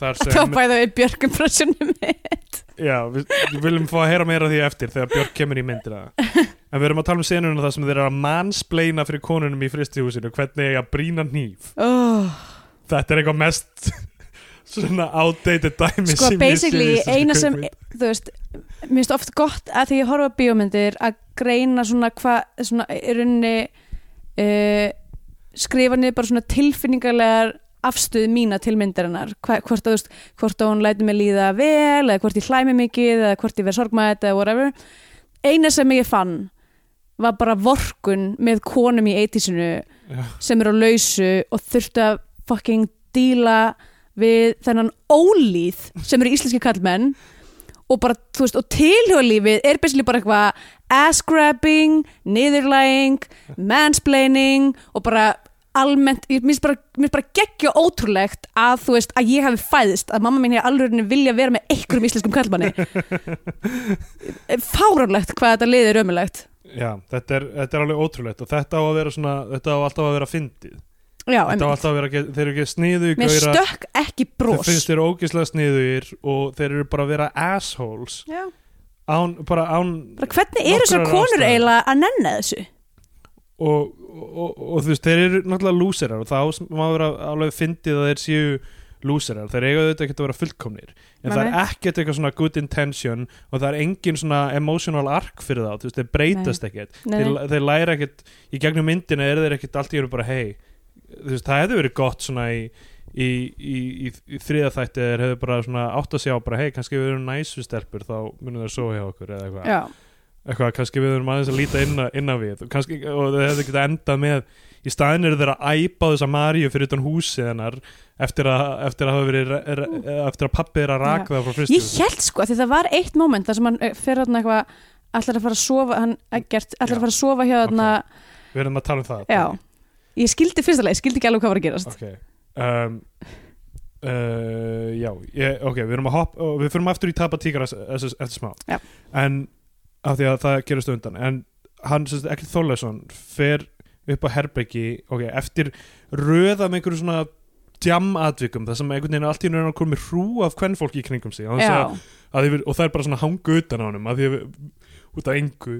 Speaker 2: þar sem
Speaker 3: Þá bæði við björk impressionum mitt.
Speaker 2: já, við, við viljum fá að heyra meira af því eftir þegar Björk kemur í myndina en við erum að tala um senuna þar sem þeir eru að manspleina fyrir konunum í fristihúsinu hvernig eiga að brína hníf
Speaker 3: Oh.
Speaker 2: þetta er eitthvað mest svona outdated dæmi
Speaker 3: sko
Speaker 2: sem ég sé í
Speaker 3: basically
Speaker 2: þessari
Speaker 3: eina sem
Speaker 2: kvikmynd.
Speaker 3: þú veist, mér finnst oft gott að því ég horfa á bíómyndir að greina svona hvað svona í rauninni uh, skrifa niður bara svona tilfinningarlegar afstöð mína til myndarinnar Hva, hvort að þú veist, hvort að hún læti mig líða vel eða hvort ég hlæmi mikið eða hvort ég verð sorgmætt eða whatever eina sem ég fann var bara vorkun með konum í 80-sinu
Speaker 2: Já.
Speaker 3: sem eru á lausu og þurftu að fucking díla við þennan ólíð sem eru íslenski kallmenn og bara, þú veist, og tilhjóðlífið er basically bara eitthvað ass-grabbing, niðurlæging mansplaining og bara almennt, ég minnst bara, minnst bara geggja ótrúlegt að þú veist að ég hafi fæðist, að mamma mín hefði alveg vilja vera með einhverjum íslenskum kallmanni fáránlegt hvað þetta liðir ömulegt
Speaker 2: Já, þetta er, þetta er alveg ótrúlegt og þetta á að vera svona, þetta á alltaf að vera fyndið
Speaker 3: Já,
Speaker 2: Þetta á
Speaker 3: einmitt.
Speaker 2: alltaf að vera, þeir eru ekki sniðu
Speaker 3: mér stökk ekki
Speaker 2: þeir
Speaker 3: bros
Speaker 2: finnst þeir ógislega sniðuir og þeir eru bara að vera assholes
Speaker 3: Já.
Speaker 2: án, bara án
Speaker 3: Bara hvernig eru þessar
Speaker 2: Nokkrar
Speaker 3: konur
Speaker 2: ástæður.
Speaker 3: eiginlega að nenna þessu?
Speaker 2: og, og, og þú veist, þeir eru náttúrulega lúserar og það á- má vera alveg fyndið að þeir séu lúserar, þeir eiga auðvitað ekkert að vera fullkomnir en
Speaker 3: Nei,
Speaker 2: það er
Speaker 3: nei.
Speaker 2: ekkert eitthvað svona good intention og það er engin svona emotional arc fyrir þá, þú veist, þeir breytast ekkert
Speaker 3: Nei,
Speaker 2: þeir, þeir læra ekkert, í gegnum myndina eru þeir ekkert allt í eru bara hei þú veist, það hefði verið gott svona í í, í, í, í þriðaþætti þeir hefðu bara svona átt að sjá bara hei, kannski við erum næsu stelpur þá munum þeir svo hjá okkur eða eitthvað
Speaker 3: Já,
Speaker 2: eitthvað, kannski við erum aðeins að líta inn, inn að við og, kannski, og það hefði getað endað með í staðin eru þeir að æpa á þessa Maríu fyrir utan húsið hennar eftir að, eftir að, hafa verið, er, eftir að pappi er að raka það frá fyrstu
Speaker 3: Ég held sko, af því það var eitt moment þar sem hann eh, fer hann eitthvað ætlar að fara að sofa, hann ekkert
Speaker 2: Já.
Speaker 3: ætlar að fara að sofa hjá þarna
Speaker 2: við erum að tala um það
Speaker 3: Já, ég skildi fyrsta leið, skildi ekki alveg hvað var að gerast
Speaker 2: ok um, uh, já, ég, ok, við erum að hoppa og við fyrum aftur í tapa tíkar eftir smá
Speaker 3: Já.
Speaker 2: en af því að það gerist á undan en hann, sem sagt, ekkert Þorleifsson fer upp á herbeggi ok, eftir röða með einhverju svona djamatvikum, það sem einhvern veginn allt í raun að koma með hrú af kvennfólki í kringum sig
Speaker 3: Já,
Speaker 2: að, að því, við- og það er bara svona hangu utan á honum að því að við, út af engu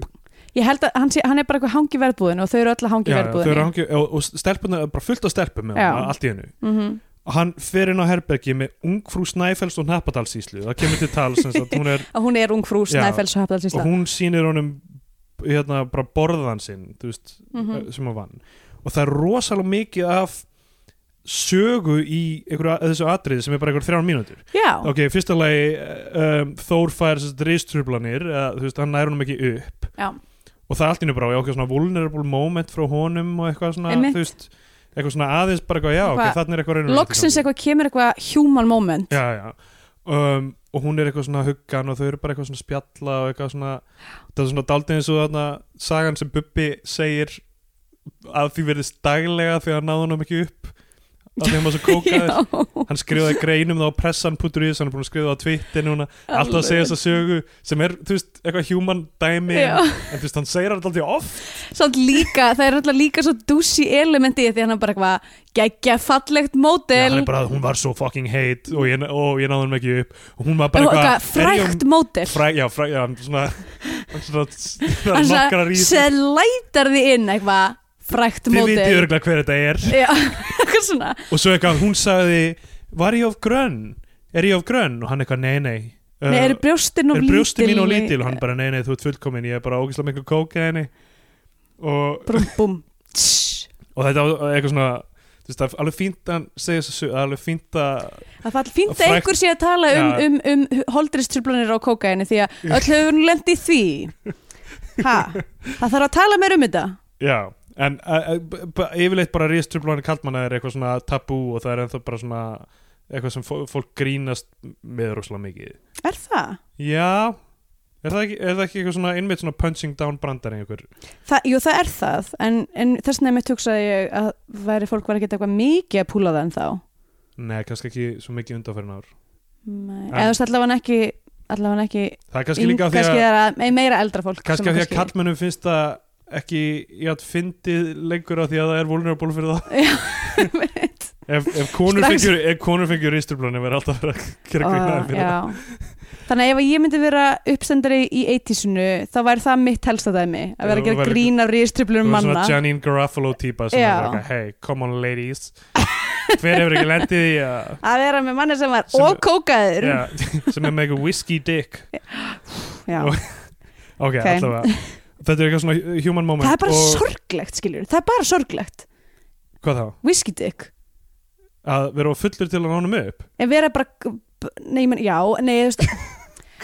Speaker 3: ég held að hann, sé, hann er bara eitthvað hangi verðbúðinu og þau eru öll að hangi
Speaker 2: Já, þau eru
Speaker 3: verðbúðinu
Speaker 2: hangi, og, og stelpunar, bara fullt af stelpum með
Speaker 3: Já.
Speaker 2: hann, allt í hennu
Speaker 3: mm
Speaker 2: og hann fer inn á herbergi með ungfrú Snæfells og Nappadalsíslu það kemur til tal sem sagt, hún er,
Speaker 3: Að hún er ung frú,
Speaker 2: Já.
Speaker 3: snæfells og
Speaker 2: og
Speaker 3: hafðalsýsla
Speaker 2: hún sýnir honum hérna bara borðan sinn þú veist, eh,
Speaker 3: Mhm.
Speaker 2: sem hann vann og það er rosalega mikið af sögu í einhverju að- þessu atriði sem er bara einhverju þrjár mínútur
Speaker 3: Já,
Speaker 2: ok, í fyrsta lagi eh, um, Þór fær reistrublanir eða, þú veist, hann nær honum ekki upp
Speaker 3: já,
Speaker 2: og það er allt í henni bara, já, ok, svona vulnerable moment frá honum og eitthvað svona,
Speaker 3: Einmitt.
Speaker 2: þú veist eitthvað svona aðeins bara eitthvað, já, ok,
Speaker 3: Eitthvað-
Speaker 2: þannig er eitthvað raunverulegt í gangi.
Speaker 3: loksins eitthvað kemur eitthvað human moment
Speaker 2: já, já. Um, og hún er eitthvað svona huggan og þau eru bara eitthvað svona spjalla og eitthvað svona það er svona daldið eins og þarna sagan sem Bubbi segir að því verðist daglega því að náðu hann ekki upp að því hann var svo kókaður hann skrifaði greinum þá á pressan.is hann er búin að skrifa það á Twitter núna alltaf að segja þess að sögu sem er, þú veist, eitthvað human dæmi
Speaker 3: Já.
Speaker 2: en, en þú veist, hann segir þetta alltaf oft
Speaker 3: Samt líka, það er alltaf líka svo dúsi elementi í því hann er bara eitthvað geggja fallegt
Speaker 2: Já, hann
Speaker 3: módel
Speaker 2: er bara að hún var svo fucking heit og ég, og ég náðu hann ekki upp og hún var bara
Speaker 3: og
Speaker 2: eitthvað
Speaker 3: eitthvað frækt módel
Speaker 2: fræ, já, fræ, já, hann svona, hann svona, svona
Speaker 3: hann
Speaker 2: nokkara rís
Speaker 3: sem lætar því inn eitthvað frækt
Speaker 2: þið
Speaker 3: módel
Speaker 2: vitið örgulega hver þetta er
Speaker 3: Já, eitthvað svona
Speaker 2: og svo eitthvað, hún sagði var ég of grönn, er ég of grönn og hann eitthvað, nei, nei
Speaker 3: Nei, eru brjóstin og
Speaker 2: er
Speaker 3: lítil
Speaker 2: brjósti Eh, mín og lítil og hann bara, nei, nei, þú ert fullkomin ég er bara ógislega mikil kóka henni og,
Speaker 3: Brum, bum Tss.
Speaker 2: og þetta var eitthvað svona þú veist, það er alveg fínt að hann segja þessu það er alveg fínt að
Speaker 3: Það fall fínt að
Speaker 2: Frægt-
Speaker 3: einhver sé að tala um,
Speaker 2: Já.
Speaker 3: um, um holdristrublanir á kókaini því að öll hefur nú lent í því Ha, það þarf að tala meir um þetta
Speaker 2: Já, en uh, b- b- yfirleitt bara ríðströflunni kallmanna er eitthvað svona tabú og það er ennþá bara svona eitthvað sem fó- fólk grínast með rosalega mikið.
Speaker 3: Er það?
Speaker 2: Já, er það ekki, er það ekki eitthvað svona einmitt svona punching down brandar einhver?
Speaker 3: það? Jú, það er það en, en þess vegna mitt hugsaði ég að væri fólk var að geta eitthvað mikið að púla það en þá
Speaker 2: Nei, kannski ekki svo mikið undanferðin ár.
Speaker 3: Nei.
Speaker 2: En-
Speaker 3: Eða þú veist allavega ekki allavega ekki
Speaker 2: Það er Ah. kannski líka af því
Speaker 3: kannski
Speaker 2: að,
Speaker 3: er að, nei, meira eldra fólk
Speaker 2: kannski
Speaker 3: sem
Speaker 2: af því að kallmennum finnst það ekki í að fyndið lengur af því að það er vulnerable fyrir það.
Speaker 3: Einmitt.
Speaker 2: Ef, ef konur
Speaker 3: Strax.
Speaker 2: fengjur, ef konur fengjur ríðströflunni verður alltaf að vera að gera
Speaker 3: Ah,
Speaker 2: grínaðin fyrir það.
Speaker 3: já. Þannig að ef að ég myndi vera uppsendari í 80-sunu þá væri það mitt helsta dæmi að vera
Speaker 2: Já,
Speaker 3: að gera
Speaker 2: væri-
Speaker 3: grín af ríðstriplunum
Speaker 2: Þú veist,
Speaker 3: manna
Speaker 2: svona Janine Garofalo típa sem
Speaker 3: Já.
Speaker 2: er eitthvað, hey, come on ladies hver hefur ekki lendið í að
Speaker 3: að vera með manni sem var
Speaker 2: Sem-
Speaker 3: og kókaður
Speaker 2: Já, sem er með eitthvað whisky dick
Speaker 3: Já.
Speaker 2: og- ok,
Speaker 3: Ok.
Speaker 2: allavega þetta er eitthvað svona human moment
Speaker 3: Það er bara
Speaker 2: og
Speaker 3: sorglegt, skiljur Það er bara sorglegt,
Speaker 2: hvað þá,
Speaker 3: whisky dick
Speaker 2: að vera of fullur til að nánum upp
Speaker 3: En vera bara, nei, menn, já Nei, þú veist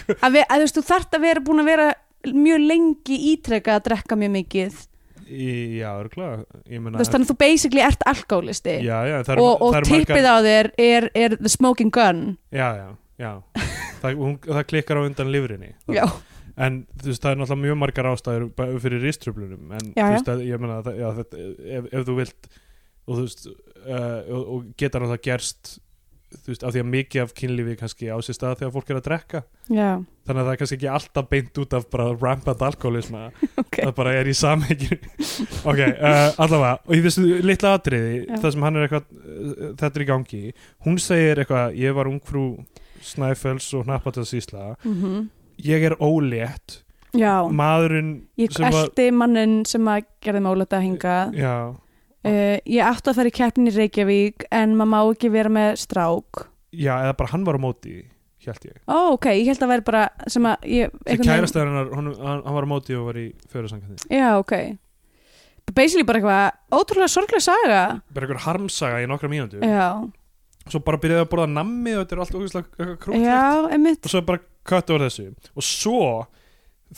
Speaker 3: að, ve, að þú veist, þú þarft að vera búin að vera mjög lengi ítreka að drekka mjög mikið
Speaker 2: í, já, örgulega, ég
Speaker 3: Þú
Speaker 2: meina
Speaker 3: veist, þannig að þú basically ert alkoholisti
Speaker 2: já, já, það er,
Speaker 3: og, og
Speaker 2: það er
Speaker 3: tippið á þér er, er the smoking gun
Speaker 2: já, já, já það, hún, það klikkar á undan lifrinni
Speaker 3: Já,
Speaker 2: en þú veist það er náttúrulega mjög margar ástæður bara fyrir riströflunum en
Speaker 3: Já,
Speaker 2: þú
Speaker 3: já.
Speaker 2: veist að, ég meina að, já, þetta, ef, ef þú vilt og þú veist uh, og, og geta náttúrulega gerst þú veist af því að mikið af kynlífi kannski á sér stað þegar fólk er að drekka
Speaker 3: Já,
Speaker 2: þannig að það er kannski ekki alltaf beint út af bara rampant alkoholisma
Speaker 3: ok
Speaker 2: það bara er í samhengi ok, uh, allavega og í þessu litla atriði,
Speaker 3: Já.
Speaker 2: það sem hann er eitthvað uh, þetta er í gangi, hún segir eitthvað ég var ungfrú Snæfells og Hnappatans Ísla
Speaker 3: mm
Speaker 2: ég er ólétt,
Speaker 3: Já,
Speaker 2: maðurinn
Speaker 3: ég
Speaker 2: sem var-
Speaker 3: eldi mannin sem að gerði málata hingað
Speaker 2: já,
Speaker 3: uh, Ég átti að fara í keppnin í Reykjavík en maður má ekki vera með strák
Speaker 2: já, eða bara hann var á móti held ég,
Speaker 3: Ó, ok, ég held að vera bara sem að
Speaker 2: þegar
Speaker 3: ég, einhvern veginn-
Speaker 2: kærastæðan hann, hann, hann var á móti og var í fjörðarsangandi
Speaker 3: Já, ok Basically bara eitthvað, ótrúlega sorglega saga
Speaker 2: bara einhver harmsaga í nokkra mínútu
Speaker 3: Já,
Speaker 2: svo bara byrjaði að borða nammi og þetta er allt ógeðslega krútlegt
Speaker 3: já, einmitt
Speaker 2: og svo bara köttu úr þessu og svo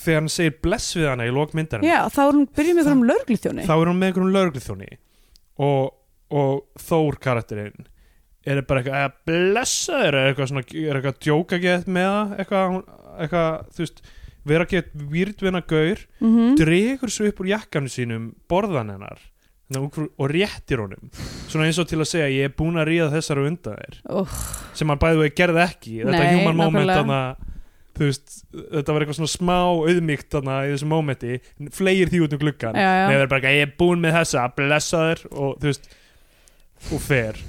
Speaker 2: þegar hann segir bless við hana í lókmyndarinn
Speaker 3: Já, þá er hún byrjuð með einhverjum lörglithjóni
Speaker 2: þá er hún með einhverjum lögregluþjóni og, og Þór karakterinn er bara eitthvað að blessa þér er eitthvað svona, er eitthvað að djóka gett með það eitthvað, hún- eitthvað, þú veist vera gett výrdvinna gaur
Speaker 3: mm
Speaker 2: dregur svo upp úr jakkanu sínum borðan hennar þannig að hún fór- og réttir honum svona eins og til að segja ég er búin að ríða þessar og undan þér sem hann bæði og gerði ekki þetta
Speaker 3: Nei,
Speaker 2: human moment
Speaker 3: nákvæmlega.
Speaker 2: þarna, þú veist, þetta var eitthvað svona smá auðmíkt þarna í þessu momenti fleir því út um gluggan
Speaker 3: Já, já.
Speaker 2: Nei, það er bara ekki, ég er búinn með þessa, blessa þér og þú veist, og fer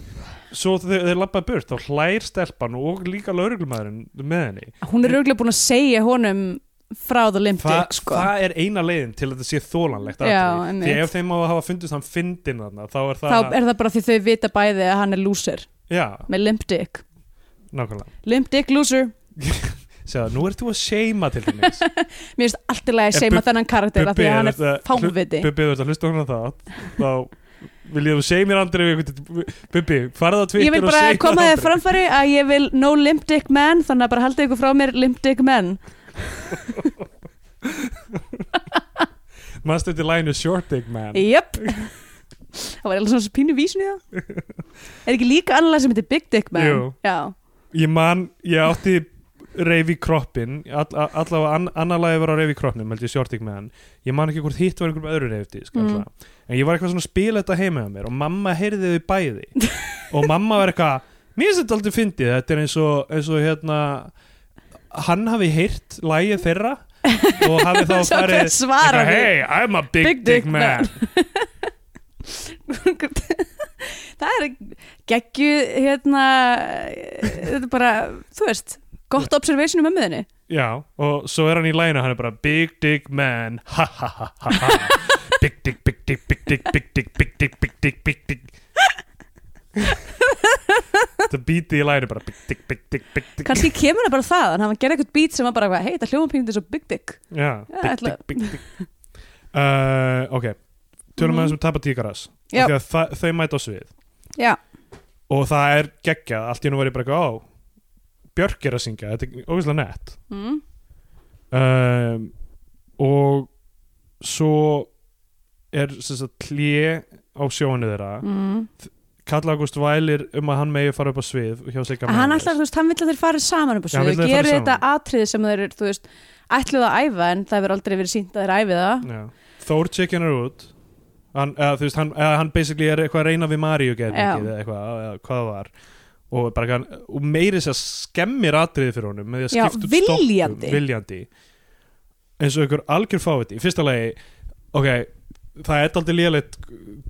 Speaker 2: svo þegar þeir lappaði burt þá hlær stelpan og líka lauruglumæðurinn með henni
Speaker 3: Hún er rauglega búin að segja honum frá það
Speaker 2: Þa,
Speaker 3: limtik sko.
Speaker 2: það er eina leiðin til að þetta sé þólanlegt
Speaker 3: Já,
Speaker 2: atriði. því
Speaker 3: einmitt.
Speaker 2: ef þeim á að hafa fundist hann fyndin þarna þá er
Speaker 3: Þá
Speaker 2: það
Speaker 3: er það bara því þau vita bæði að hann er loser
Speaker 2: já,
Speaker 3: með limtik
Speaker 2: nákvæmlega
Speaker 3: Limtik loser
Speaker 2: Sjáðu, nú ert þú að seima til dæmis
Speaker 3: Mér finnst alltaf að
Speaker 2: Ef
Speaker 3: ég seima
Speaker 2: Bub-
Speaker 3: þennan karakter af því
Speaker 2: ef
Speaker 3: að hann er
Speaker 2: þetta-
Speaker 3: fáviti
Speaker 2: Bubbi, þú ert að hlusta hún á það þá vil ég að þú segja mér andri við einhvern- Bubbi, farðu á Twitter
Speaker 3: Ég vil
Speaker 2: og
Speaker 3: bara
Speaker 2: segja
Speaker 3: koma
Speaker 2: mér
Speaker 3: þér framfæri að ég vil no limtik man þannig að bara haldið ykkur frá mér limtik man
Speaker 2: Manstu til læginu Short Dick Man
Speaker 3: Jöp Það var eitthvað svona pínu vísin í það Er ekki líka annað sem heitir Big Dick Man?
Speaker 2: Jú.
Speaker 3: Já,
Speaker 2: Ég man, ég átti reyfi kroppin all, all- allavega an, annar lagi var á reyfi kroppnum held ég Short Dick Man ég man ekki hvort hitt var einhverjum öðru reyfdisk
Speaker 3: Mm.
Speaker 2: mm. en ég var eitthvað svona að spila þetta heima hjá mér og mamma heyrði þau bæði og mamma var eitthvað mér finnst þetta aldrei fyndið þetta er eins og, eins og hérna hann hafi heyrt lagið þeirra og hafi þá
Speaker 3: Sjá
Speaker 2: farið
Speaker 3: hver svarar því.
Speaker 2: hey, I'm a big,
Speaker 3: Big
Speaker 2: dick,
Speaker 3: dick
Speaker 2: man,
Speaker 3: það er geggju hérna þetta er bara, þú veist gott observation um ömmuðinni
Speaker 2: Já, og svo er hann í læginu hann er bara big dick man ha ha ha ha ha big dick, big dick, big dick, big dick, big dick, big dick, big dick Það býti í læginu bara big dick, big dick, big dick
Speaker 3: kannski kemur það bara það, en hann gerði eitthvað beat sem var bara, hei, þetta hljóma píngið svo big dick
Speaker 2: Já,
Speaker 3: Já,
Speaker 2: big
Speaker 3: ætla-
Speaker 2: dick, big dick uh, Ok, tölum um
Speaker 3: Mhm.
Speaker 2: við þessum tapa tíkaras
Speaker 3: Já.
Speaker 2: Þegar þa- þau mæta á svið
Speaker 3: já,
Speaker 2: og það er geggjað, allt í hennu var ég bara eitthvað á Björk er að syngja, þetta er ógeðslega nett
Speaker 3: mm.
Speaker 2: um, og svo er sem sagt hlje á sjónu þeirra
Speaker 3: Mm.
Speaker 2: Karl Ágúst vælir um að hann megi fara upp á svið hjá sig
Speaker 3: En hann ætlar, þú veist, hann vill að þeir farið saman upp á
Speaker 2: Já, hann
Speaker 3: svið
Speaker 2: vill að
Speaker 3: og
Speaker 2: þeir
Speaker 3: gerir
Speaker 2: fari
Speaker 3: þetta
Speaker 2: saman.
Speaker 3: atriði sem þeir, eru, þú veist ætluð að æfa, en það hefur aldrei verið sínt að þeir æfi það
Speaker 2: Já. Þór tjekkinn er út hann, eða, þú veist, hann, eða, hann basically er eitthvað að reyna við Maríu
Speaker 3: Já.
Speaker 2: geðmikið eða eitthvað, eða hvað það var og, bara, kann- og meiri sér skemmir atriði fyrir honum með því að
Speaker 3: Já,
Speaker 2: skipta út
Speaker 3: viljandi.
Speaker 2: stoppum viljandi eins og einhver algjör fáviti í fyrsta lagi, ok það er aldrei léleitt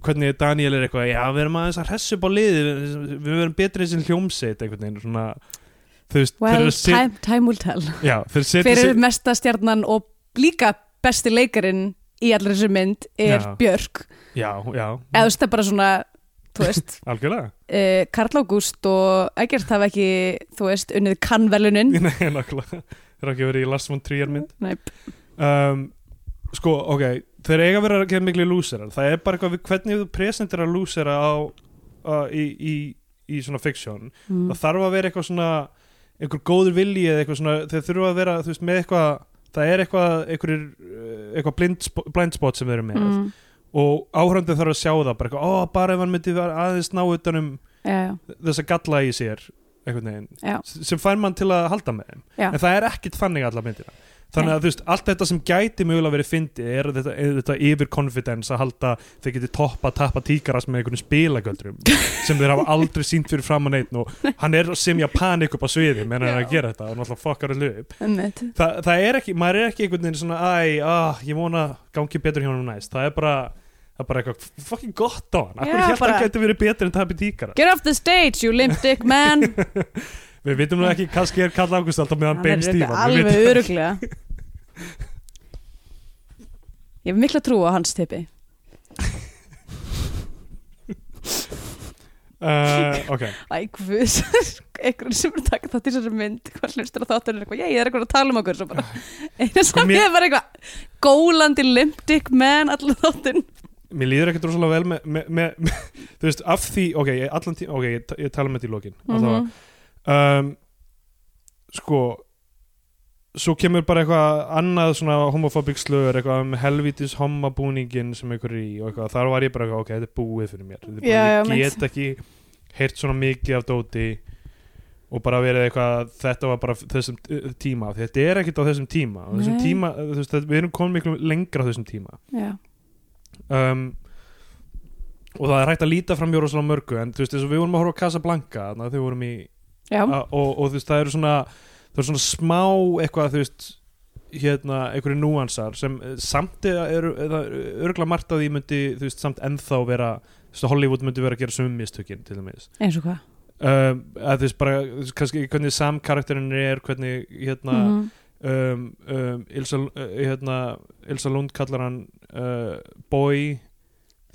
Speaker 2: hvernig Daniel er eitthvað, já við erum aðeins að hressu upp á liði við, við verum betri eins og hljómseit einhvern veginn svona þú veist, þeir
Speaker 3: well,
Speaker 2: eru að sit-
Speaker 3: time, time will tell
Speaker 2: já, þeir setja
Speaker 3: fyrir
Speaker 2: sig-
Speaker 3: mesta stjarnan og líka besti leikarin í allra þessu mynd er
Speaker 2: Já.
Speaker 3: Björk
Speaker 2: já, já,
Speaker 3: eða þú veist það er bara svona þú veist,
Speaker 2: algjörlega
Speaker 3: uh, Karl Ágúst og Eggert hafa ekki, þú veist, unnið kannvelunin
Speaker 2: Nei, nákvæmlega Þeir hafa ekki verið í Lars von Trier mynd
Speaker 3: Nei,
Speaker 2: um, Sko, ok Þeir eiga að vera að gera miklu lúserar Það er bara eitthvað við hvernig þú presentir að lúsera á, uh, í, í, í svona fiction
Speaker 3: mm.
Speaker 2: Það þarf að vera eitthvað svona einhver góður vilji eða eitthvað svona þeir þurfa að vera, þú veist, með eitthvað það er eitthvað, einhver, eitthvað blind, sp- blind spot sem þeir eru með
Speaker 3: Mm.
Speaker 2: og áhrandi þarf að sjá það bara eitthvað, ó, bara ef hann myndi vera aðeins ná utanum
Speaker 3: Já, já,
Speaker 2: þessa galla í sér einhvern veginn
Speaker 3: Já.
Speaker 2: S- sem fær mann til að halda með þeim
Speaker 3: Já.
Speaker 2: en það er ekkit þannig alla myndina þannig að þú veist, allt þetta sem gæti mögulega verið fyndið er þetta, er þetta yfirconfidence að halda þeir geti toppa, tappa tíkaras með einhvern spilagöldrum sem þeir hafa aldrei sínt fyrir fram að neitt og hann er sem ég panik upp á sviði meðan hann er að gera þetta og náttúrulega fokkar allu upp
Speaker 3: einmitt.
Speaker 2: Þa, það er ekki, maður er ekki einhvern veginn svona æ, ah, ég vona gangi betur hjá hann næst það er bara, það er bara eitthvað fucking gott á hann, akkur
Speaker 3: Já,
Speaker 2: yeah, held
Speaker 3: bara-
Speaker 2: hann gæti verið betur en tappi tíkara
Speaker 3: Get off the stage, you limp dick man
Speaker 2: við vitum nú ekki, kannski er Karl Ágúst alltaf með hann bein
Speaker 3: örugglega
Speaker 2: stífan við
Speaker 3: alveg
Speaker 2: vitum-
Speaker 3: öruglega Ég hef mikla trú á hans tippi
Speaker 2: Uh, ok,
Speaker 3: Æ, guðs, einhvern sem er að taka þátt í þessari mynd, hvað hlustur að þáttur er eitthvað, ég ég er eitthvað að tala um okkur, svo bara eina
Speaker 2: Sko,
Speaker 3: sem
Speaker 2: mér-
Speaker 3: ég er bara eitthvað gólandi limtik menn allan þáttinn.
Speaker 2: mér líður ekkert rosalega vel með, með, með, með þú veist, af því ok, ég, allan tí, ok, ég, ta- ég tala með því í lokin mm
Speaker 3: Mhm.
Speaker 2: um, sko svo kemur bara eitthvað annað svona homofóbík slögur, eitthvað um helvítis homabúningin sem einhver er í og eitthvað, þar var ég bara eitthvað, ok, þetta er búið fyrir mér Þetta er bara,
Speaker 3: Já, já,
Speaker 2: ég
Speaker 3: meint.
Speaker 2: get ekki heyrt svona mikið af dóti og bara verið eitthvað, þetta var bara þessum eh, tíma, þetta er ekkert á þessum tíma á þessum
Speaker 3: Nei.
Speaker 2: tíma, eh, þú veist, þetta- við erum komin miklu lengra á þessum tíma
Speaker 3: Já,
Speaker 2: um, og það er hægt að líta fram jóra svona mörgu en þú veist eins og við vorum að horfa á Casablanca þannig að þau vorum í
Speaker 3: já,
Speaker 2: að, og, og þú veist það eru svona það eru svona smá eitthvað þú veist hérna einhverju núansar sem eh, samt er- eru örgla margt að því myndi þú veist samt ennþá vera þú veist að Hollywood myndi vera að gera sömu mistökin til dæmis
Speaker 3: eins og hvað.
Speaker 2: um, að þú veist bara þú veist, kannski hvernig samkarakterin er hvernig hérna
Speaker 3: Mhm.
Speaker 2: um, um, Ilsa, uh, hérna, Ilsa Lund kallar hann uh, boy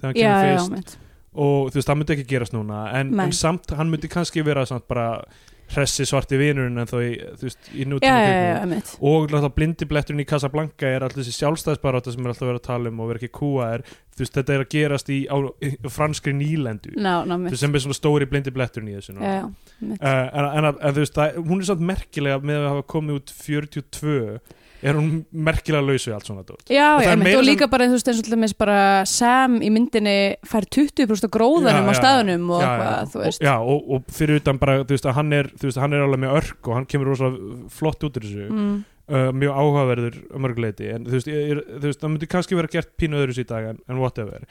Speaker 2: þegar hann kemur
Speaker 3: Já, já, já,
Speaker 2: fyrst
Speaker 3: mitt.
Speaker 2: og þú veist, það myndi ekki gerast núna en,
Speaker 3: Nei.
Speaker 2: en samt, hann myndi kannski vera samt bara hressi svarti vinurinn en þó í, þú veist, í
Speaker 3: Já,
Speaker 2: nútíma
Speaker 3: já, já,
Speaker 2: kvikmynd.
Speaker 3: já, mitt.
Speaker 2: og alltaf blindibletturinn í Casablanca er alltaf þessi sjálfstæðsbaráta sem er alltaf verið að tala um og verið ekki kúa er, þú veist, þetta er að gerast í, á, í franskri nýlendu
Speaker 3: Ná, ná, mitt.
Speaker 2: sem er svona stóri blindibletturinn í þessu núna.
Speaker 3: Mm, Já, já, mitt.
Speaker 2: Uh, en, en, en þú veist, það, hún er samt merkilega með að hafa komið út 42 er hún merkilega laus við allt svona dót.
Speaker 3: Já,
Speaker 2: og það
Speaker 3: já,
Speaker 2: er
Speaker 3: mitt.
Speaker 2: meira
Speaker 3: Og
Speaker 2: sem-
Speaker 3: líka bara, þú veist, eins og til dæmis bara Sam í myndinni fær 20% af gróðanum
Speaker 2: Já,
Speaker 3: á
Speaker 2: já,
Speaker 3: staðunum og
Speaker 2: Já,
Speaker 3: hvað, þú veist.
Speaker 2: og, já og, og fyrir utan bara, þú veist, að hann er, þú veist, hann er alveg með örk og hann kemur rosalega flott út úr þessu
Speaker 3: Mm.
Speaker 2: uh, mjög áhugaverður að mörguleiti en þú veist, ég, er, þú veist, það myndi kannski vera gert pínu öðru sér í dag en, en whatever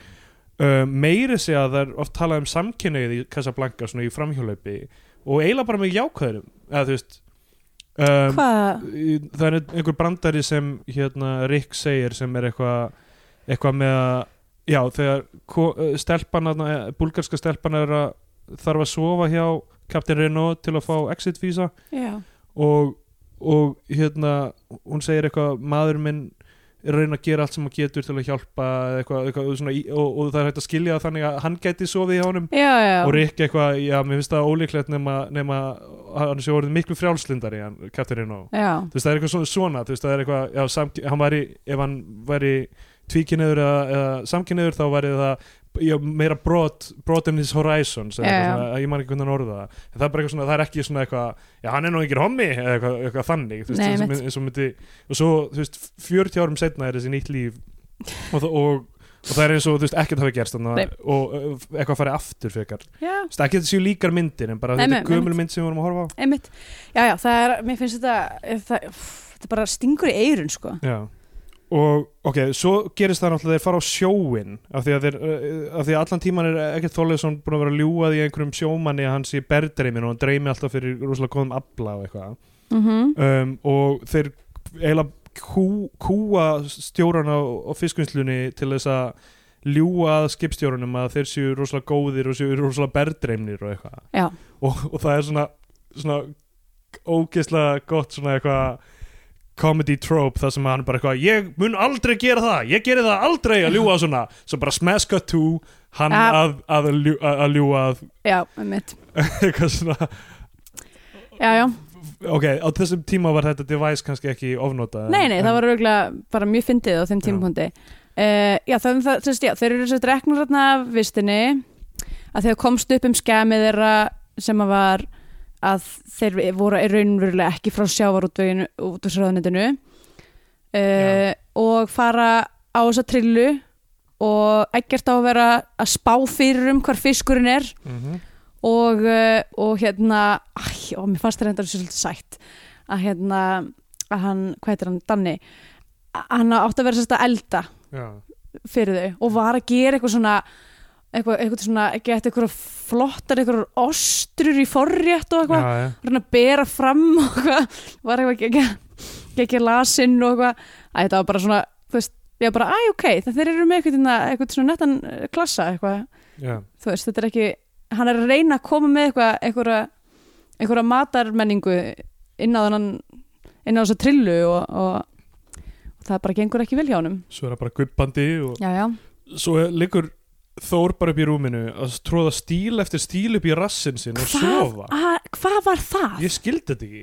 Speaker 2: uh, meiri sé að það er oft talað um samkynneið í Casablanca svona í framhjólaupi og eiginlega bara með jákvæðurum eða þú veist um,
Speaker 3: Hvað?
Speaker 2: Í- það er einhver brandari sem hérna Rick segir sem er eitthvað eitthvað með að já þegar ko- eh, stelpan þarna, eh, búlgarska stelpan er að þarf að sofa hjá Captain Renault til að fá exit visa
Speaker 3: Já,
Speaker 2: og, og hérna hún segir eitthvað maður minn er að reyna að gera allt sem hann getur til að hjálpa eða eitthvað, eitthvað svona, í- og, og það er hægt að skilja það þannig að hann gæti sofið hjá honum
Speaker 3: já, já.
Speaker 2: og Rick eitthvað, já mér finnst það ólíklegt nema, nema hann sé orðið miklu frjálslindari hann, Captain Renault
Speaker 3: Já,
Speaker 2: þú veist það er eitthvað svona, svona þú veist það er eitthvað já, samk, hann væri, ef hann væri tvíkinniður eða, eða samkinniður þá væri það já, meira brot brotum his horizons eða
Speaker 3: Já,
Speaker 2: eitthvað
Speaker 3: já.
Speaker 2: svona, ég man ekki hvernig hann orða það en það er bara eitthvað svona, það er ekki svona eitthvað já, hann er nú ekki hommi eða eitthvað, eitthvað þannig þú veist,
Speaker 3: Nei,
Speaker 2: eins og
Speaker 3: mitt.
Speaker 2: mynd- eins og myndi og svo, þú veist, 40 árum setna er þessi nýtt líf og, það- og, og það er eins og, þú veist, ekkert hafi gerst
Speaker 3: Nei.
Speaker 2: þannig, og ö, eitthvað farið aftur frekar þú
Speaker 3: já.
Speaker 2: veist, ekki að þetta séu líkar myndir en bara
Speaker 3: Nei,
Speaker 2: þetta
Speaker 3: nei,
Speaker 2: er gömul mynd sem við vorum að horfa á
Speaker 3: Einmitt, já, já, það er, mér finnst þetta, það, pff, þetta bara stingur í eirun, sko.
Speaker 2: Já og ok, svo gerist það náttúrulega þeir fara á sjóin af því að, þeir, uh, af því að allan tíman er ekkert þóliðsson búin að vera ljúað í einhverjum sjómanni að hann sé berdreimin og hann dreimi alltaf fyrir rosalega góðum abla og eitthvað
Speaker 3: Mm -hmm.
Speaker 2: um, og þeir eiginlega kú, kúa stjóran á, á fiskvinnslunni til þess að ljúa að skipstjórunum að þeir séu rosalega góðir og séu rosalega berdreimnir og eitthvað
Speaker 3: Já,
Speaker 2: og, og það er svona, svona ógeðslega gott svona eitthvað comedy trope þar sem hann bara eitthvað ég mun aldrei gera það, ég geri það aldrei að ljúa svona, svo bara smash cut to hann
Speaker 3: Ja.
Speaker 2: að, að, ljú, að, að ljúa að
Speaker 3: já, einmitt,
Speaker 2: eitthvað svona,
Speaker 3: já, já.
Speaker 2: ok, á þessum tíma var þetta device kannski ekki ofnotað
Speaker 3: Nei, nei,
Speaker 2: en-
Speaker 3: það var auðvitað bara mjög fyndið á þeim
Speaker 2: Já.
Speaker 3: tímapunkti. Uh, já, það, það, það, já, þeir eru svo dreknur þarna af vistinni að þeir komst upp um skemið þeirra sem að var að þeir voru í raunverulega ekki frá sjávar út, út úr sráðanetinu uh, og fara á þessa trillu og ekkert á að vera að spá fyrir um hvar fiskurinn er
Speaker 2: Mhm.
Speaker 3: eh, og, uh, og hérna æ, og mér fannst það reyndar svolítið sætt að hérna að hann, hvað heitir hann, Danni að hann átti að vera sérst að elda
Speaker 2: já,
Speaker 3: fyrir þau og var að gera eitthvað svona eitthvað, eitthvað svona, geta eitthvað flottar eitthvað ostrur í forrétt
Speaker 2: já,
Speaker 3: og eitthvað,
Speaker 2: já.
Speaker 3: var hann að bera fram og eitthvað, var eitthvað ekki ekki lasinn og eitthvað Æ, þetta var bara svona, þú veist, ég var bara æ, ok, það þeir eru með eitthvað, hérna- eitthvað svona nettan eh, klassa eitthvað
Speaker 2: já.
Speaker 3: þú veist, þetta er ekki hann er að reyna að koma með eitthvað einhverja, einhverja matarmenningu inn á þannan inn á þessa trillu og, og, og það bara gengur ekki vel hjá honum
Speaker 2: svo er það bara guppandi og
Speaker 3: já, já,
Speaker 2: svo er- liggur Þór bara upp í rúminu að tróða stíl eftir stíl upp í rassin sinn og sofa
Speaker 3: að, hvað var það?
Speaker 2: ég skildi þetta ekki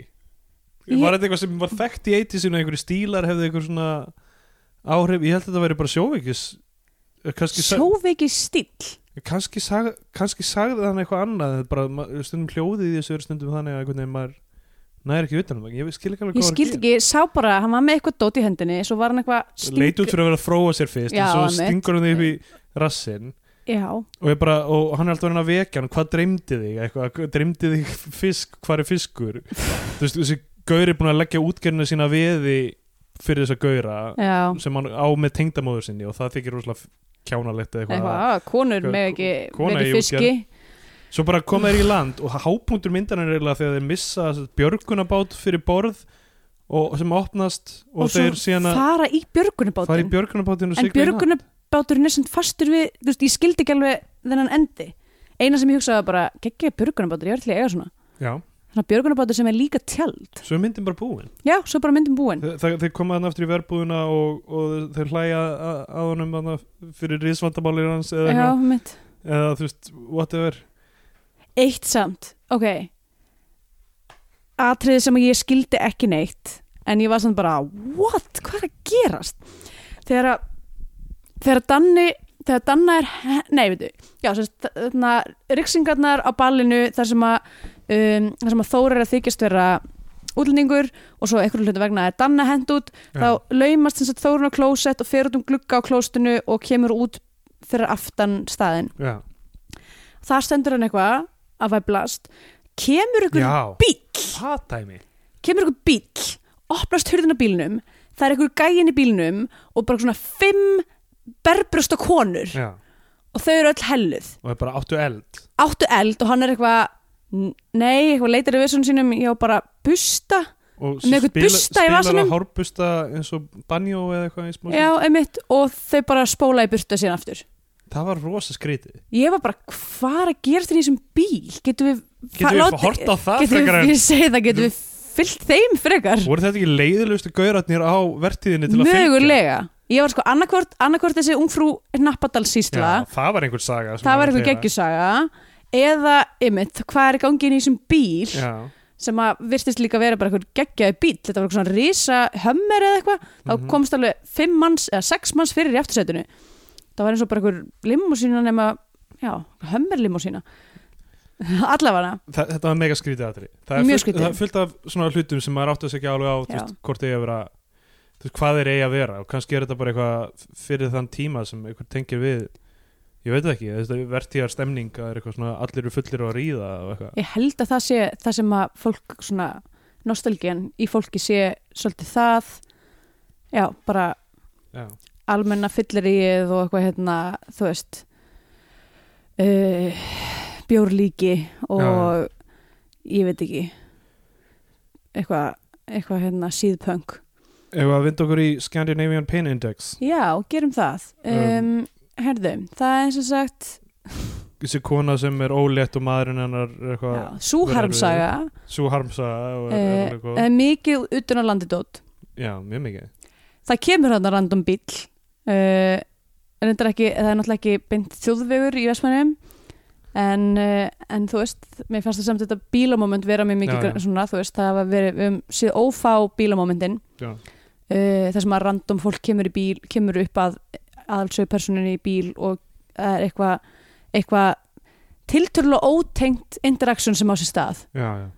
Speaker 3: Ég-
Speaker 2: var þetta eitthvað sem var þekkt í 80sinu einhverju stílar hefði einhver svona áhrif, ég held að þetta væri bara sjóveikis Eh, kannski, sa
Speaker 3: sjóveiki stíll
Speaker 2: kannski, sag kannski sagði hann eitthvað annað þetta er bara ma- stundum hljóðið í þessu er stundum þannig að einhvern veginn maður næri ekki utan um það, ég skil ekki alveg
Speaker 3: ég
Speaker 2: var að
Speaker 3: skildi
Speaker 2: gera.
Speaker 3: ekki, sá bara að hann var með eitthvað dót í hendinni svo var hann eitthvað
Speaker 2: leit út fyrir að vera að þróa sér fyrst
Speaker 3: Já,
Speaker 2: en svo
Speaker 3: einmitt.
Speaker 2: stingur hann því upp í rassin
Speaker 3: já,
Speaker 2: og, ég bara, og hann er alltaf að reyna að vekja hann hvað dreymdi þig, eitthvað, hvað dreymdi þig fisk, hvað er fiskur Þú veist, þessi gauri er búin að leggja útgerðina sína að veði fyrir þessa gaura
Speaker 3: já
Speaker 2: sem hann á með tengdamóður sinni og það þykir rosalega kjánalegt eða
Speaker 3: eitthvað,
Speaker 2: eitthvað
Speaker 3: að, konur
Speaker 2: Hvað-
Speaker 3: með ekki,
Speaker 2: kona
Speaker 3: með
Speaker 2: í
Speaker 3: ekki fiski
Speaker 2: svo bara koma þeir í land og hápunktur myndan er eiginlega þegar þeir missa björgunabát fyrir borð og sem opnast og,
Speaker 3: og,
Speaker 2: þeir
Speaker 3: svo
Speaker 2: síðan að
Speaker 3: fara
Speaker 2: fara
Speaker 3: í
Speaker 2: í
Speaker 3: björgunabátinn
Speaker 2: björgunabátinn og
Speaker 3: en
Speaker 2: sigla í land.
Speaker 3: björgunabáturinn er sem fastur við þú veist, ég skildi ekki alveg þennan endi eina sem ég hugsaði var bara, geggja björgunabátur ég er til að eiga svona,
Speaker 2: já,
Speaker 3: þannig að björgunabátur sem er líka tjald,
Speaker 2: svo er myndin bara búin
Speaker 3: já, svo bara myndum búin
Speaker 2: Þe- Þeir, þeir koma þannig aftur í verbúðuna og, og þeir hlæja að- að honum þarna fyrir rísvandamálir hans eða,
Speaker 3: já,
Speaker 2: eitthvað.
Speaker 3: mitt,
Speaker 2: eða þú veist, whatever
Speaker 3: eitt samt ok atriði sem ég skildi ekki neitt en ég var samt bara, what, hvað er að gerast þegar að þegar Danni þegar Danna er, he- nei veitu já, sérst, þarna, riksingarnar á ballinu þar sem að, um, þar sem að Þóra er að þykjast vera útlendingur og svo einhverju hlutu vegna er Danna hend út þá laumast þess að Þórun á klósett og fer út um glugga á klóstinu og kemur út fyrir aftan staðin
Speaker 2: Já,
Speaker 3: þar stendur hann eitthvað að væblast kemur ykkur
Speaker 2: já.
Speaker 3: bíll
Speaker 2: það dæmi
Speaker 3: kemur ykkur bíll, opnast hurðin á bílnum það er ykkur gæin í bílnum og bara svona fimm berbrösta konur
Speaker 2: já.
Speaker 3: og þau eru öll helluð
Speaker 2: og það bara áttu eld
Speaker 3: áttu eld og hann er eitthvað n- nei, eitthvað leitar í vissunum sínum já, bara busta,
Speaker 2: og
Speaker 3: Með einhvern busta í vasanum?
Speaker 2: að hárbusta eins og banjó eða eitthvað í smá
Speaker 3: já, einmitt og þau bara spóla í burta síðan aftur
Speaker 2: stund. það var rosa skrítið
Speaker 3: ég var bara, hvað er að gerast þér í þessum bíl getum við
Speaker 2: getur við hort á það
Speaker 3: getum
Speaker 2: frekar
Speaker 3: við,
Speaker 2: en
Speaker 3: ég segi það, getum við fyllt þeim frekar
Speaker 2: voru þetta ekki leiðilegustu gauratnir á vertíðinni til að
Speaker 3: mögulega, ég var sko annarkvort, annarkvort þessi ungfrú
Speaker 2: fylgja
Speaker 3: nappadalsísla
Speaker 2: já, það var einhver saga sem
Speaker 3: það var
Speaker 2: að
Speaker 3: eitthvað
Speaker 2: lifa.
Speaker 3: geggjusaga eða, ymmit, hvað er í gangi inn í þessum bíl
Speaker 2: já,
Speaker 3: sem að virtist líka vera bara eitthvað geggjaði bíl þetta var eitthvað svona risa hömmer eða eitthvað þá
Speaker 2: Mhm.
Speaker 3: komst alveg fimm manns eða sex manns fyrir í aftursætinu það var eins og bara eitthvað limmusína nema, já, hömmer limmusína allafana
Speaker 2: Þa, þetta var mega skrítið aðri það er,
Speaker 3: Mjög
Speaker 2: fullt,
Speaker 3: skrítið.
Speaker 2: það er fullt af svona hlutum sem maður átti að segja alveg á þú
Speaker 3: Já.
Speaker 2: veist, hvort eigi að vera þú veist, hvað þeir eigi að vera og kannski er þetta bara eitthvað fyrir þann tíma sem einhver tengir við ég veit það ekki, þetta er vertíðar stemning að það er eitthvað svona allir eru fullir og að ríða og eitthvað
Speaker 3: Ég held að það sé það sem að fólk svona nostalgían í fólki sé svolítið það já, bara
Speaker 2: Já.
Speaker 3: almenna fyllir í og eitthvað hérna, þú veist uh, bjórlíki og
Speaker 2: Já,
Speaker 3: ég veit ekki eitthvað eitthvað hérna síðpöng
Speaker 2: ef við að vinda okkur í Scandinavian Pain Index
Speaker 3: Já, gerum það um,
Speaker 2: Um.
Speaker 3: Herðu, það er sem sagt
Speaker 2: þessi kona sem er ólétt og maðurinn hennar er
Speaker 3: já,
Speaker 2: eitthvað
Speaker 3: súharmsaga
Speaker 2: svo harmsa og er, er
Speaker 3: uh,
Speaker 2: alveg góð
Speaker 3: eh, mikið utan á landidót
Speaker 2: já, mjög mikið
Speaker 3: það kemur þarna random bíll uh, en þetta er ekki það er náttúrulega ekki beint þjóðvegur í Vestmannum en, uh, en þú veist mér fannst það samt þetta bílamoment vera mér mikið
Speaker 2: Já, já.
Speaker 3: gr- svona, þú veist, það hafa verið við höfum séð ófá bílamomentin
Speaker 2: Já.
Speaker 3: uh, þar sem að random fólk kemur í bíl kemur upp að aðalsöðu personinni í bíl og það er eitthvað eitthvað tilturlega ótengt interaction sem á sér stað
Speaker 2: já, já.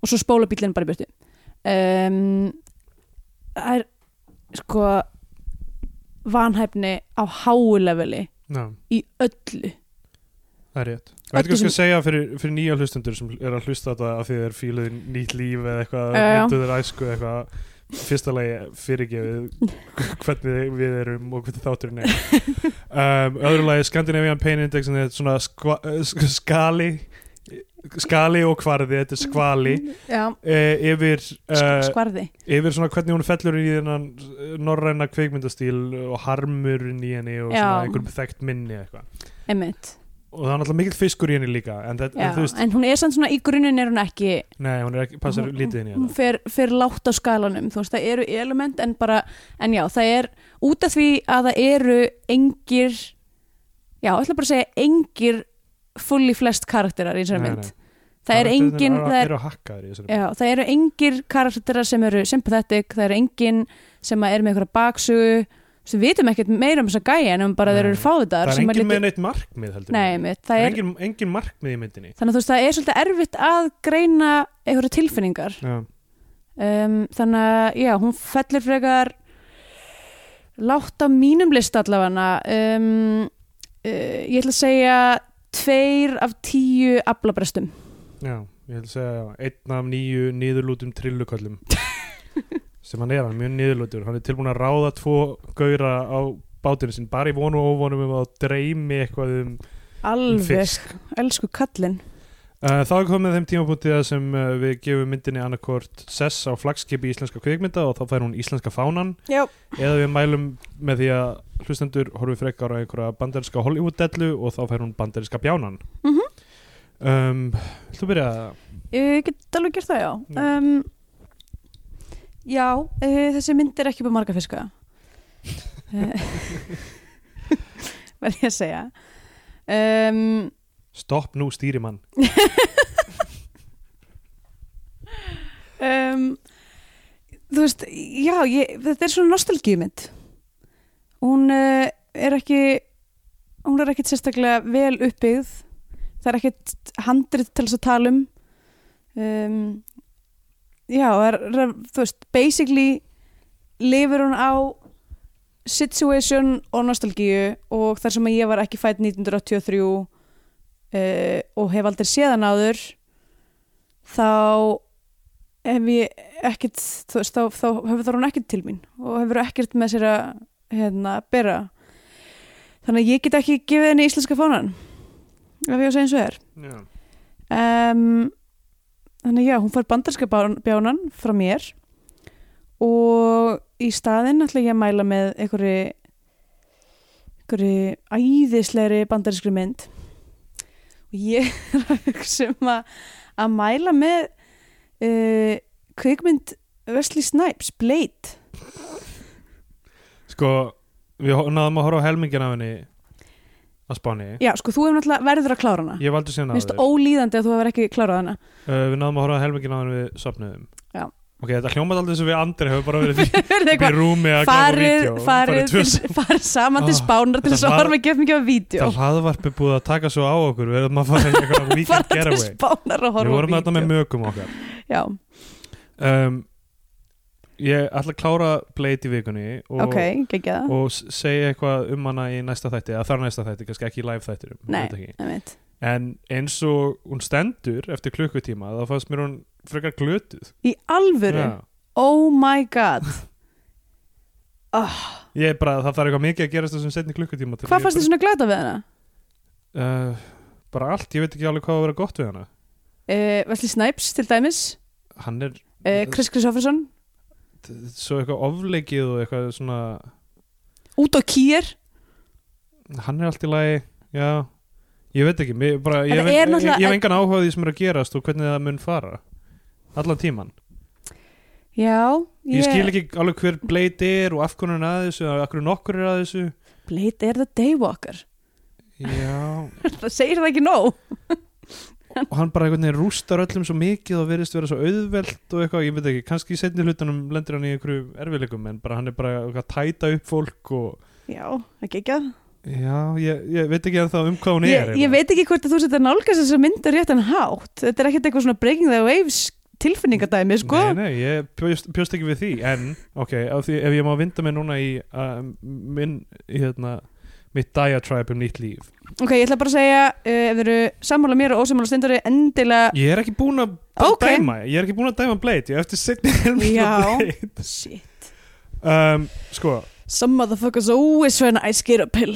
Speaker 3: og svo spóla bílinn bara í burtu um, það er sko vanhæfni á háu leveli
Speaker 2: Já.
Speaker 3: í öllu
Speaker 2: Það er rétt. Ég
Speaker 3: Öllu
Speaker 2: veit ekki
Speaker 3: sem-
Speaker 2: að segja fyrir, fyrir nýja hlustundur sem er að hlusta þetta af því þeir fíluðu nýtt líf eða eitthvað,
Speaker 3: Já, já.
Speaker 2: myndu þeir æsku eða eitthvað. fyrsta lagi fyrirgefið hvernig við erum og hvernig þátturinn er um, öðru lagi Scandinavian Pain Index er svona skva, sk- skali skali og kvarði, þetta er skvali
Speaker 3: Já,
Speaker 2: e, yfir,
Speaker 3: sk-
Speaker 2: uh,
Speaker 3: skvarði
Speaker 2: yfir svona hvernig hún fellur í þennan norræna kveikmyndastíl og harmurinn í henni og svona
Speaker 3: Já.
Speaker 2: einhverjum þekkt minni eitthvað
Speaker 3: einmitt
Speaker 2: og það er náttúrulega mikill fiskur í henni líka en, það,
Speaker 3: Já,
Speaker 2: en þú veist,
Speaker 3: en hún er samt svona í grunin er hún ekki
Speaker 2: nei, hún er ekki, passar
Speaker 3: hún-
Speaker 2: lítið inn í
Speaker 3: hún
Speaker 2: þetta
Speaker 3: fer, fer látt á skalanum þú veist, það eru element en bara en já, það er út af því að það eru engir já, ég ætla bara að segja engir fulli flest karakterar í þessari
Speaker 2: Nei,
Speaker 3: mynd
Speaker 2: nei.
Speaker 3: það er
Speaker 2: Karakterarnir
Speaker 3: engin
Speaker 2: eru-
Speaker 3: það er,
Speaker 2: eru hakkaðir í þessari
Speaker 3: já, það eru engir karakterar sem eru sympathetic, það eru engin sem er með einhverja baksugu sem við vitum ekkert meira um þessa gæja en um bara
Speaker 2: Nei.
Speaker 3: þeir eru fáðutar
Speaker 2: það er engin með neitt markmið heldur
Speaker 3: nei,
Speaker 2: við.
Speaker 3: mitt,
Speaker 2: það
Speaker 3: það
Speaker 2: er
Speaker 3: er,
Speaker 2: engin, engin markmið í myndinni
Speaker 3: þannig að þú veist, það er svolítið erfitt að greina einhverja tilfinningar
Speaker 2: já.
Speaker 3: um, þannig að já, hún fellur frekar látt á mínum list allavega um, uh, ég ætla að segja tveir af tíu aflabrestum
Speaker 2: já, ég vil segja já, einn af nýju niðurlútum trilluköllum sem hann er, hann er mjög niðurlútur hann er tilbúin að ráða tvo gauðra á bátinu sinn, bara í vonu og óvonum um að dreymi eitthvað um
Speaker 3: alveg,
Speaker 2: fisk
Speaker 3: elsku kallinn
Speaker 2: Uh, þá er komið þeim tímabútið sem uh, við gefum myndinni annarkort sess á flagskipi íslenska kvikmynda og þá fær hún íslenska fánan
Speaker 3: já,
Speaker 2: eða við mælum með því að hlustendur horfi frekar á einhverja bandarinska Hollywood-dellu og þá fær hún bandarinska bjánan
Speaker 3: Mhm.
Speaker 2: um, Þú byrja að
Speaker 3: ég get alveg gert það já
Speaker 2: Já.
Speaker 3: um, já, uh, þessi mynd er ekki upp á marga fiska Eh, verð ég að segja um,
Speaker 2: stopp nú stýrimann
Speaker 3: um, þú veist, já ég, þetta er svona nostalgíumynd hún uh, er ekki hún er ekkit sérstaklega vel uppbyggð það er ekkit handrið til þess að tala um um já, það er, það er, þú veist basically lifir hún á situation og nostalgíu og þar sem að ég var ekki fætt 1983 uh, eh, og hef aldrei séðan áður þá hef ég ekkert þú veist, þá, þá hefur það hún ekkert til mín og hefur ekkert með sér að hérna, bera þannig að ég get ekki gefið henni íslenska fánan ef ég á að segja eins og er
Speaker 2: Já,
Speaker 3: um, þannig að já, hún fær bandarska bán- bjánan frá mér og í staðinn ætla ég að mæla með einhverju einhverju æðislegri bandarskri mynd og ég er að hugsa um að, að mæla með uh, kvikmynd Wesley Snipes, Blade
Speaker 2: sko við ho- náðum að horfa á helmingin af henni á Spáni
Speaker 3: já, sko, þú hefur náttúrulega verður að klára hana
Speaker 2: Ég valdur síðan
Speaker 3: Mér
Speaker 2: að
Speaker 3: finnst ólíðandi að þú hefur ekki klárað hana
Speaker 2: uh, Við náðum að horfa á helmingin af henni við sopnuðum
Speaker 3: Já.
Speaker 2: Ok, þetta hljómaði aldrei sem við andri hefur bara verið í-
Speaker 3: Verður
Speaker 2: í rúmi að glápa
Speaker 3: farið,
Speaker 2: vídeo
Speaker 3: farið, til, farið saman til
Speaker 2: Ah,
Speaker 3: spánar til
Speaker 2: þetta
Speaker 3: þess að
Speaker 2: hlað-
Speaker 3: horfa ekki mikið á vídeo
Speaker 2: Það hlaðvarp er búið að taka svo á okkur Við erum að fara í eitthvað weekend
Speaker 3: farið til
Speaker 2: getaway
Speaker 3: spánar og
Speaker 2: Við
Speaker 3: horfa á
Speaker 2: vorum þetta með
Speaker 3: vídeo
Speaker 2: mögum okkar
Speaker 3: já,
Speaker 2: um, Ég ætla að klára Blade í vikunni og,
Speaker 3: ok, geggja það
Speaker 2: og s- segja eitthvað um hana í næsta þætti eða þar næsta þætti, kannski ekki í live þættirum ég
Speaker 3: Nei.
Speaker 2: veit ekki.
Speaker 3: einmitt.
Speaker 2: En eins og hún stendur eftir klukkutíma þá fannst mér hún frekar glötuð
Speaker 3: í alvöru,
Speaker 2: Já.
Speaker 3: oh my god
Speaker 2: Ég er bara, það þarf eitthvað mikið að gerast þessum setni klukkutíma til að ég
Speaker 3: hvað fannst þið
Speaker 2: bara-
Speaker 3: svona glata við hana?
Speaker 2: Uh, bara allt, ég veit ekki alveg hvað að vera gott við hana
Speaker 3: Uh, Wesley Snipes til dæmis
Speaker 2: Hann er
Speaker 3: uh, Chris Christopherson,
Speaker 2: t- svo eitthvað ofleikið og eitthvað svona
Speaker 3: út á kýr
Speaker 2: hann er allt í lagi já, ég veit ekki mér, bara, ég,
Speaker 3: Þetta
Speaker 2: hef-
Speaker 3: er
Speaker 2: ég,
Speaker 3: náttúrulega-
Speaker 2: ég hef engan áhuga á því sem er að gerast og hvernig það mun fara allan tíman
Speaker 3: já,
Speaker 2: ég skil ekki alveg hver Blade er og af hvernig hann er að þessu og af hvernig nokkur er að þessu
Speaker 3: Blade er the daywalker
Speaker 2: já,
Speaker 3: það segir það ekki nóg
Speaker 2: og hann bara einhvern veginn rústar öllum svo mikið og virðist vera svo auðvelt og eitthvað, ég veit ekki, kannski í setni hlutunum lendir hann í einhverju erfiðleikum en bara hann er bara eitthvað að tæta upp fólk og
Speaker 3: já, ekki ekki að
Speaker 2: já, ég, ég veit ekki ennþá um hvað hún er
Speaker 3: ég, ég veit ekki hvort að þú setjar nálgast þess að mynda rétt en hátt þetta er ekkert eitthvað svona breaking the waves tilfinningadæmi sko
Speaker 2: Nei, nei, ég bjóst, bjóst ekki við því En, ok, af því, ef ég má vinda mig núna í uh, minn, í hérna, mitt diatribe um nýtt líf
Speaker 3: ok, ég ætla bara að segja uh, ef þið eru sammála mér og ósammála stundari endilega
Speaker 2: ég er ekki búin að
Speaker 3: Ok.
Speaker 2: dæma ég er ekki búin að dæma Blade, ég er eftir setni helming
Speaker 3: Já.
Speaker 2: á Blade
Speaker 3: shit,
Speaker 2: um, sko,
Speaker 3: some motherfuckers always when I skir a pill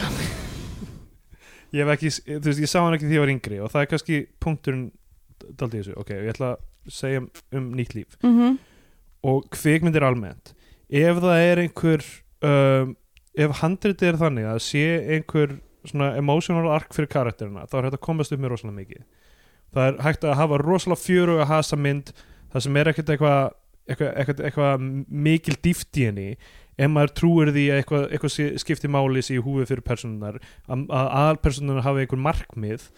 Speaker 2: ég hef ekki, þú veist, ég sá hann ekki því ég var yngri og það er kannski punkturinn daldið þessu, ok, ég ætla að segja um, um nýtt líf
Speaker 3: mm -hmm.
Speaker 2: og kvikmyndir almennt ef það er einhver um, ef handriti er þannig að sé einhver svona emotional arc fyrir karakterina þá er hægt að komast upp með rosalega mikið það er hægt að hafa rosalega fjöru að hasa mynd það sem er ekkert eitthvað eitthvað, eitthvað, eitthvað mikil dýft í henni ef maður trúir því að eitthvað, eitthvað sé- skipti máli sé í húfi fyrir personunar að aðalpersonunar hafi einhver markmið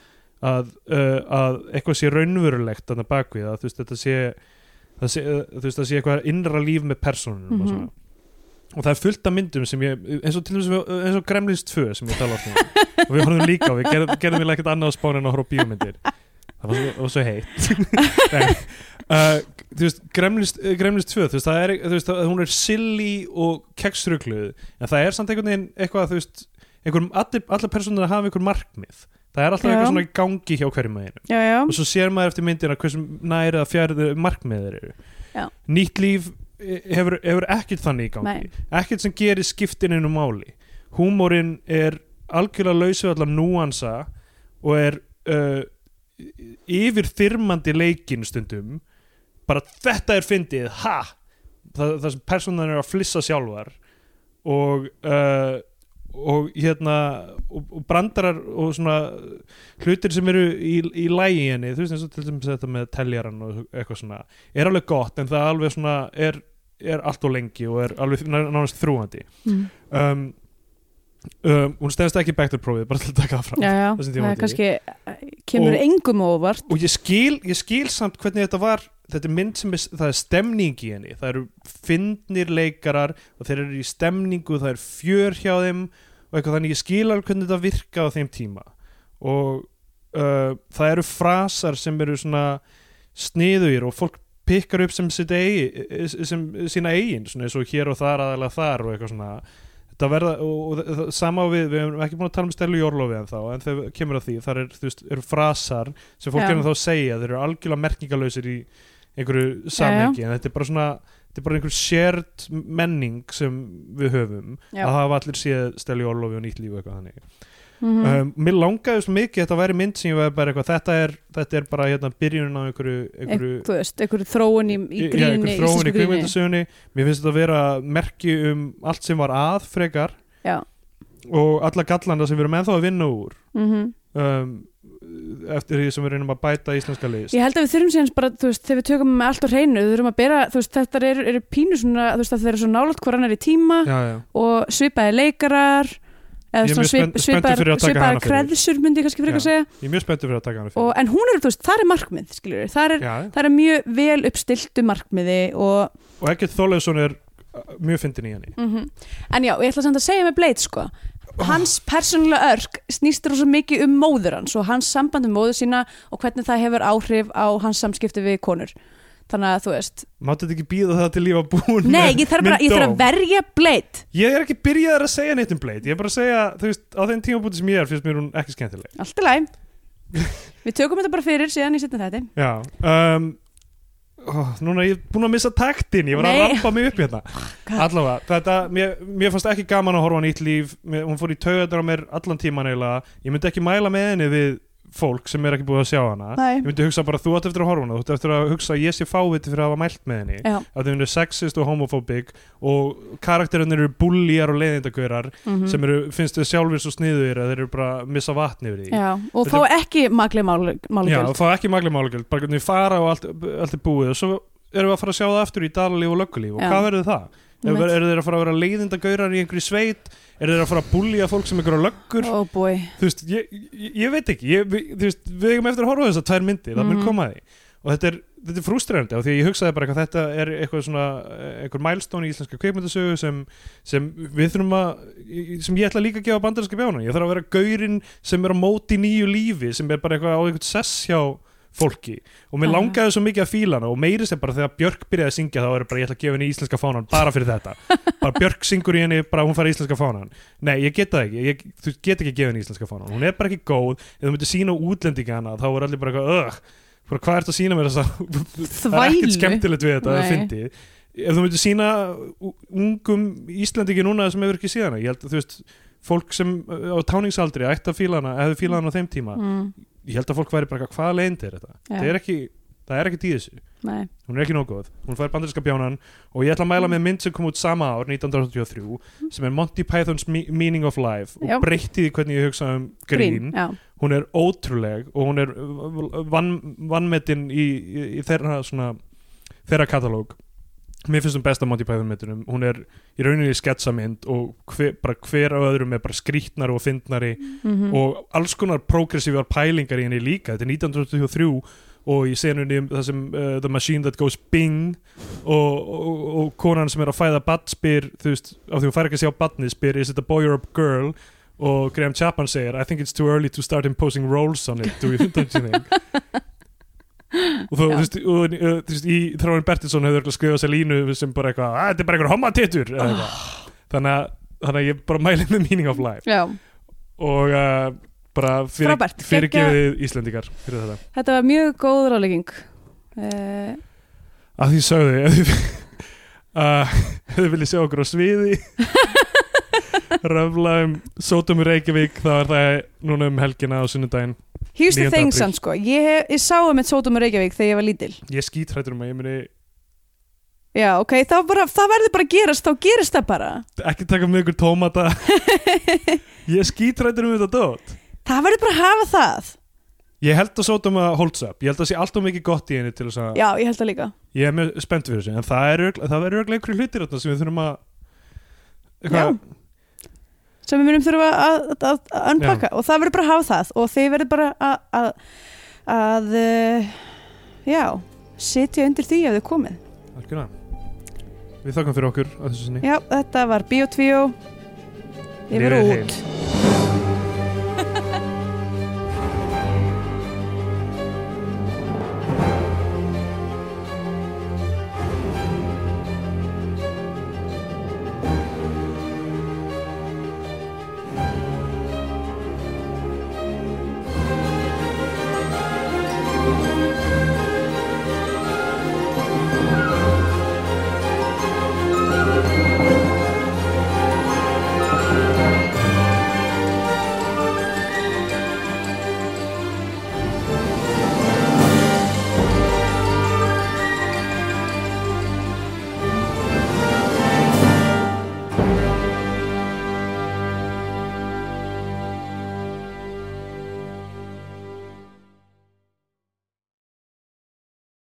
Speaker 2: að, uh, að eitthvað sé raunverulegt þannig bakvið að þú veist þetta sé það sé, uh, þú veist, það sé eitthvað innra líf með personunum
Speaker 3: Mhm.
Speaker 2: og svona og það er fullt af myndum sem ég eins og til dæmis við- eins og Gremlins 2 sem ég tala oft um og við horfum líka á, við gerðum, gerðum við ekkert annað á spáni en að horfa á bíómyndir það var svo, það var svo heitt Nei, uh, þú veist, Gremlins, eh, Gremlins 2 þú veist, það er, þú veist, það, hún er silly og keksrugluð en það er samt einhvern veginn eitthvað, þú veist einhver, allir, allar personur hafa einhver markmið það er alltaf
Speaker 3: Já.
Speaker 2: eitthvað svona í gangi hjá hverjum að einu
Speaker 3: já, já,
Speaker 2: og svo sér maður eftir myndina hversu næri að fjærið markmiðir eru
Speaker 3: Já.
Speaker 2: nýtt líf eh, hefur, hefur ekkert þannig í gangi
Speaker 3: nei
Speaker 2: ekkert sem gerir skiptininu máli húmórin er algjörlega lausu allar núansa og er uh, yfir þyrmandi leikin stundum bara þetta er fyndið, ha það, það sem personan eru að flissa sjálfar og uh, og hérna og, og brandarar og svona hlutir sem eru í, í lægi henni þú veist eins og til dæmis þetta með teljaran og eitthvað svona, er alveg gott en það alveg svona er, er allt og lengi og er alveg ná- nánast þrúandi
Speaker 3: mm.
Speaker 2: um, um, hún stefst ekki bektarprófið bara til að taka það fram
Speaker 3: já, já,
Speaker 2: Það sem
Speaker 3: það
Speaker 2: tíma
Speaker 3: er
Speaker 2: til.
Speaker 3: kannski eh, kemur
Speaker 2: Og-
Speaker 3: engum á óvart
Speaker 2: og ég skil, ég skil samt hvernig þetta var þetta er mynd sem er, það er stemning í henni það eru fyndnir leikarar og þeir eru í stemningu, það er fjör hjá þeim og eitthvað þannig ég skil alveg hvernig þetta virka á þeim tíma og uh, það eru frasar sem eru svona sniðugir og fólk pikkar upp sem, sitt eigi, sem sína eigin svona eins og hér og þar aðalega þar og eitthvað svona þetta verða, og, og, og það- sama á við við hefum ekki búin að tala um Stellu Jórlofi en þá en þegar kemur að því, þar er, þú veist, eru frasar sem fólk
Speaker 3: Já.
Speaker 2: er að þá segja, þeir eru algjörlega merkingalösir í einhverju samhengi en þetta er bara svona, þetta er bara einhver shared menning sem við höfum
Speaker 3: Já.
Speaker 2: að hafa allir séð Stellu Jórlofi og nýtt líf og eitthvað þannig
Speaker 3: mm
Speaker 2: um, mér langaði svo mikið að þetta væri mynd sem ég var bara eitthvað, þetta er, þetta er bara hérna, byrjunin á einhverju, einhverju
Speaker 3: þú veist, einhverju þróun í, í
Speaker 2: já,
Speaker 3: gríni,
Speaker 2: einhver þróun í
Speaker 3: íslensku gríni
Speaker 2: kvikmyndasögunni mér finnst þetta að vera merki um allt sem var að frekar
Speaker 3: Já.
Speaker 2: og alla gallanda sem við erum ennþá að vinna úr
Speaker 3: mm
Speaker 2: um, eftir því sem við reynum að bæta íslenska list
Speaker 3: Ég held að við þurfum síðan bara, þú veist, þegar við tökum með allt á hreinu, við þurfum að bera, þú veist, þetta eru er pínu svona, þú veist, að þeir eru svo nálat hver annar í tíma
Speaker 2: já, já.
Speaker 3: og svipaði leikarar,
Speaker 2: Ég er
Speaker 3: eða svona
Speaker 2: mjög spennt-
Speaker 3: svip,
Speaker 2: spenntur fyrir að
Speaker 3: svipaðar
Speaker 2: taka hana
Speaker 3: svipaðar
Speaker 2: fyrir.
Speaker 3: kreðsur myndi ég kannski fyrir
Speaker 2: Já.
Speaker 3: að segja,
Speaker 2: ég er mjög spenntur fyrir að taka hana
Speaker 3: og,
Speaker 2: fyrir
Speaker 3: en hún er, þú veist, það er markmið, skiljur, það er,
Speaker 2: já, já.
Speaker 3: það er mjög vel uppstiltu markmiði og,
Speaker 2: og ekkert Þorleifsson er uh, mjög fyndin í henni
Speaker 3: en já, ég ætla samt að segja með Blade, sko,
Speaker 2: Ah.
Speaker 3: hans persónulega örk snýst rosa mikið um móður hans og hans samband um móður sína og hvernig það hefur áhrif á hans samskipti við konur. Þannig að þú veist,
Speaker 2: máttu þetta ekki býða það til lífa búin
Speaker 3: Nei,
Speaker 2: með
Speaker 3: ég þarf, bara,
Speaker 2: minn
Speaker 3: ég þarf
Speaker 2: dóm?
Speaker 3: að verja Blade
Speaker 2: Ég er ekki byrjaðar að segja neitt um Blade Ég er bara að segja, þú veist, á þeim tímabúti sem ég er finnst mér hún ekki skemmtileg
Speaker 3: Allt í læm Við tökum þetta bara fyrir síðan í setna þetta
Speaker 2: Já um, ó, Núna er ég búin að missa taktin Ég var að
Speaker 3: Nei.
Speaker 2: rampa mig upp hérna Allavega, þetta, mér, mér fannst ekki gaman að horfa á nýtt líf mér, Hún fór í taugadar á mér allan tíman eiginlega Ég myndi ekki mæla með henni við fólk sem er ekki búið að sjá hana Ég
Speaker 3: Nei,
Speaker 2: myndi hugsa bara þú átt eftir að horfa á hana Þú átt eftir að hugsa að ég sé fáviti fyrir að hafa mælt með henni
Speaker 3: já
Speaker 2: að þau eru sexist og homofóbik og karakterinn eru búlíjar og leiðindagörar
Speaker 3: mhm.
Speaker 2: sem eru, finnst þau sjálfur svo sniður að þeir eru bara að missa vatn yfir því
Speaker 3: Já, og þá ekki magli
Speaker 2: Já, og
Speaker 3: málugjöld
Speaker 2: það er ekki magli málugjöld, bara hvernig þau fara og allt, allt er búið og svo erum við að fara að sjá það aftur í dalalíf og löggulíf og
Speaker 3: Já.
Speaker 2: hvað verður það? Eru er eru þeir að fara að vera leiðindagaurar í einhverju sveit? Eru þeir að fara að búlja fólk sem einhverja löggur?
Speaker 3: Ó búi
Speaker 2: Þú veist, ég, ég, ég veit ekki, ég, við, þú veist, við eigum eftir að horfa á þessar tvær myndir, það mun
Speaker 3: Mhm.
Speaker 2: koma að því og þetta er, þetta er frústrerandi og því að ég hugsaði bara eitthvað þetta er eitthvað svona, eitthvað mælstón í íslenska kveikmyndasögu sem, sem við þurfum að, sem ég ætla líka að gefa bandarinska bjána, ég þarf að vera gaurinn sem er á móti nýju lífi, sem er bara eitthvað á einhvern sess hjá fólki og mér
Speaker 3: Aha.
Speaker 2: langaði svo mikið að fíla hana og meiri sem bara þegar Björk byrjaði að syngja þá er bara ég ætla að gefa henni íslenska fánan bara fyrir þetta bara Björk syngur í henni bara hún fær íslenska fánan nei ég get það ekki, ég, þú get ekki að gefa henni íslenska fánan hún er bara ekki góð, ef þú myndir sína útlendingana þá er allir bara eitthvað ögh bara hvað ertu að sína mér þess það er ekkert
Speaker 3: Þvælu.
Speaker 2: skemmtilegt við þetta að
Speaker 3: Nei.
Speaker 2: fyndi ef þú myndir sína u- ungum Íslandingi núna sem hefur ekki síðana ég held að þú veist, fólk sem uh, á táningsaldri ætti að fíla hana, hefði fíla hana á þeim tíma
Speaker 3: Mm,
Speaker 2: ég held að fólk væri bara eitthvað, hvaða leind er þetta
Speaker 3: Já.
Speaker 2: það er ekki, það er ekki í þessu
Speaker 3: nei,
Speaker 2: hún er ekki nóg góð, hún fær bandarinska bjánan og ég ætla að mæla
Speaker 3: Mm.
Speaker 2: með mynd sem kom út sama ár 1983 sem er Monty Python's Me- Meaning of Life og
Speaker 3: Já.
Speaker 2: breytti því hvernig ég hugsa um grín
Speaker 3: já,
Speaker 2: hún er ótrúleg og hún er uh, vann, vannmetin í, í, í þeirra svona þeirra katalóg mér finnst hún besta Monty Python myndunum hún er í rauninni sketsamynd og hver, bara hver af öðrum er bara skrýtnari og fyndnari
Speaker 3: mhm,
Speaker 2: og alls konar progressívar pælingar í henni líka, þetta er 1923 og í senunni um það sem uh, The Machine That Goes Bing og, og, og konan sem er að fæða badd spyr, þú veist, af því hún fær ekki að sjá badni spyr, is it a boy or a girl og Graham Chapman segir, I think it's too early to start imposing roles on it, do you, don't you think og þú
Speaker 3: Já.
Speaker 2: þú veist, og, uh, þú veist í Þráin Bertilsson hefur örugglega skrifað sér línu sem bara eitthvað, "Ah, þetta er bara einhver hommatittur eða eitthvað.
Speaker 3: Ah.
Speaker 2: þannig að þannig að ég bara mæli með Meaning of Life
Speaker 3: já
Speaker 2: og uh, bara fyrir,
Speaker 3: Frábært,
Speaker 2: fyrirgefið Íslendingar fyrir þetta
Speaker 3: þetta var mjög góð rálegging uh,
Speaker 2: að því sögðu ef þið uh, ef þið viljið sjá okkur á sviði röfla um Sótum í Reykjavík þá er það núna um helgina á sunnudaginn
Speaker 3: here's the
Speaker 2: 9.
Speaker 3: thing
Speaker 2: apríl.
Speaker 3: sann sko ég, hef- ég sá um eitt sótum í Reykjavík þegar ég var lítil
Speaker 2: ég skýt hrættur um að ég muni
Speaker 3: já, ok, þá bara, það verður bara að gerast þá gerist það bara
Speaker 2: ekki taka með ykkur tómata ég skýt hrættur um þetta dót
Speaker 3: það verður bara að hafa það
Speaker 2: ég held að Sótum að holds up ég held að sé allt og mikið gott í henni til þess að
Speaker 3: já, ég held það líka
Speaker 2: ég er mjög spennt fyrir þessu en það er örugglega- það verður örugglega einhverju hlutir þarna sem við þurfum að eitthvað-
Speaker 3: sem við munum þurfa að, að, að unpacka og það verður bara að hafa það og þið verður bara að, að, að uh, já, sitja undir því ef þið komið
Speaker 2: Algjörlega. Við þakkum fyrir okkur að þessu sinni.
Speaker 3: já, þetta var Bíotvíó ég
Speaker 2: Lifið
Speaker 3: verður
Speaker 2: heil.
Speaker 3: út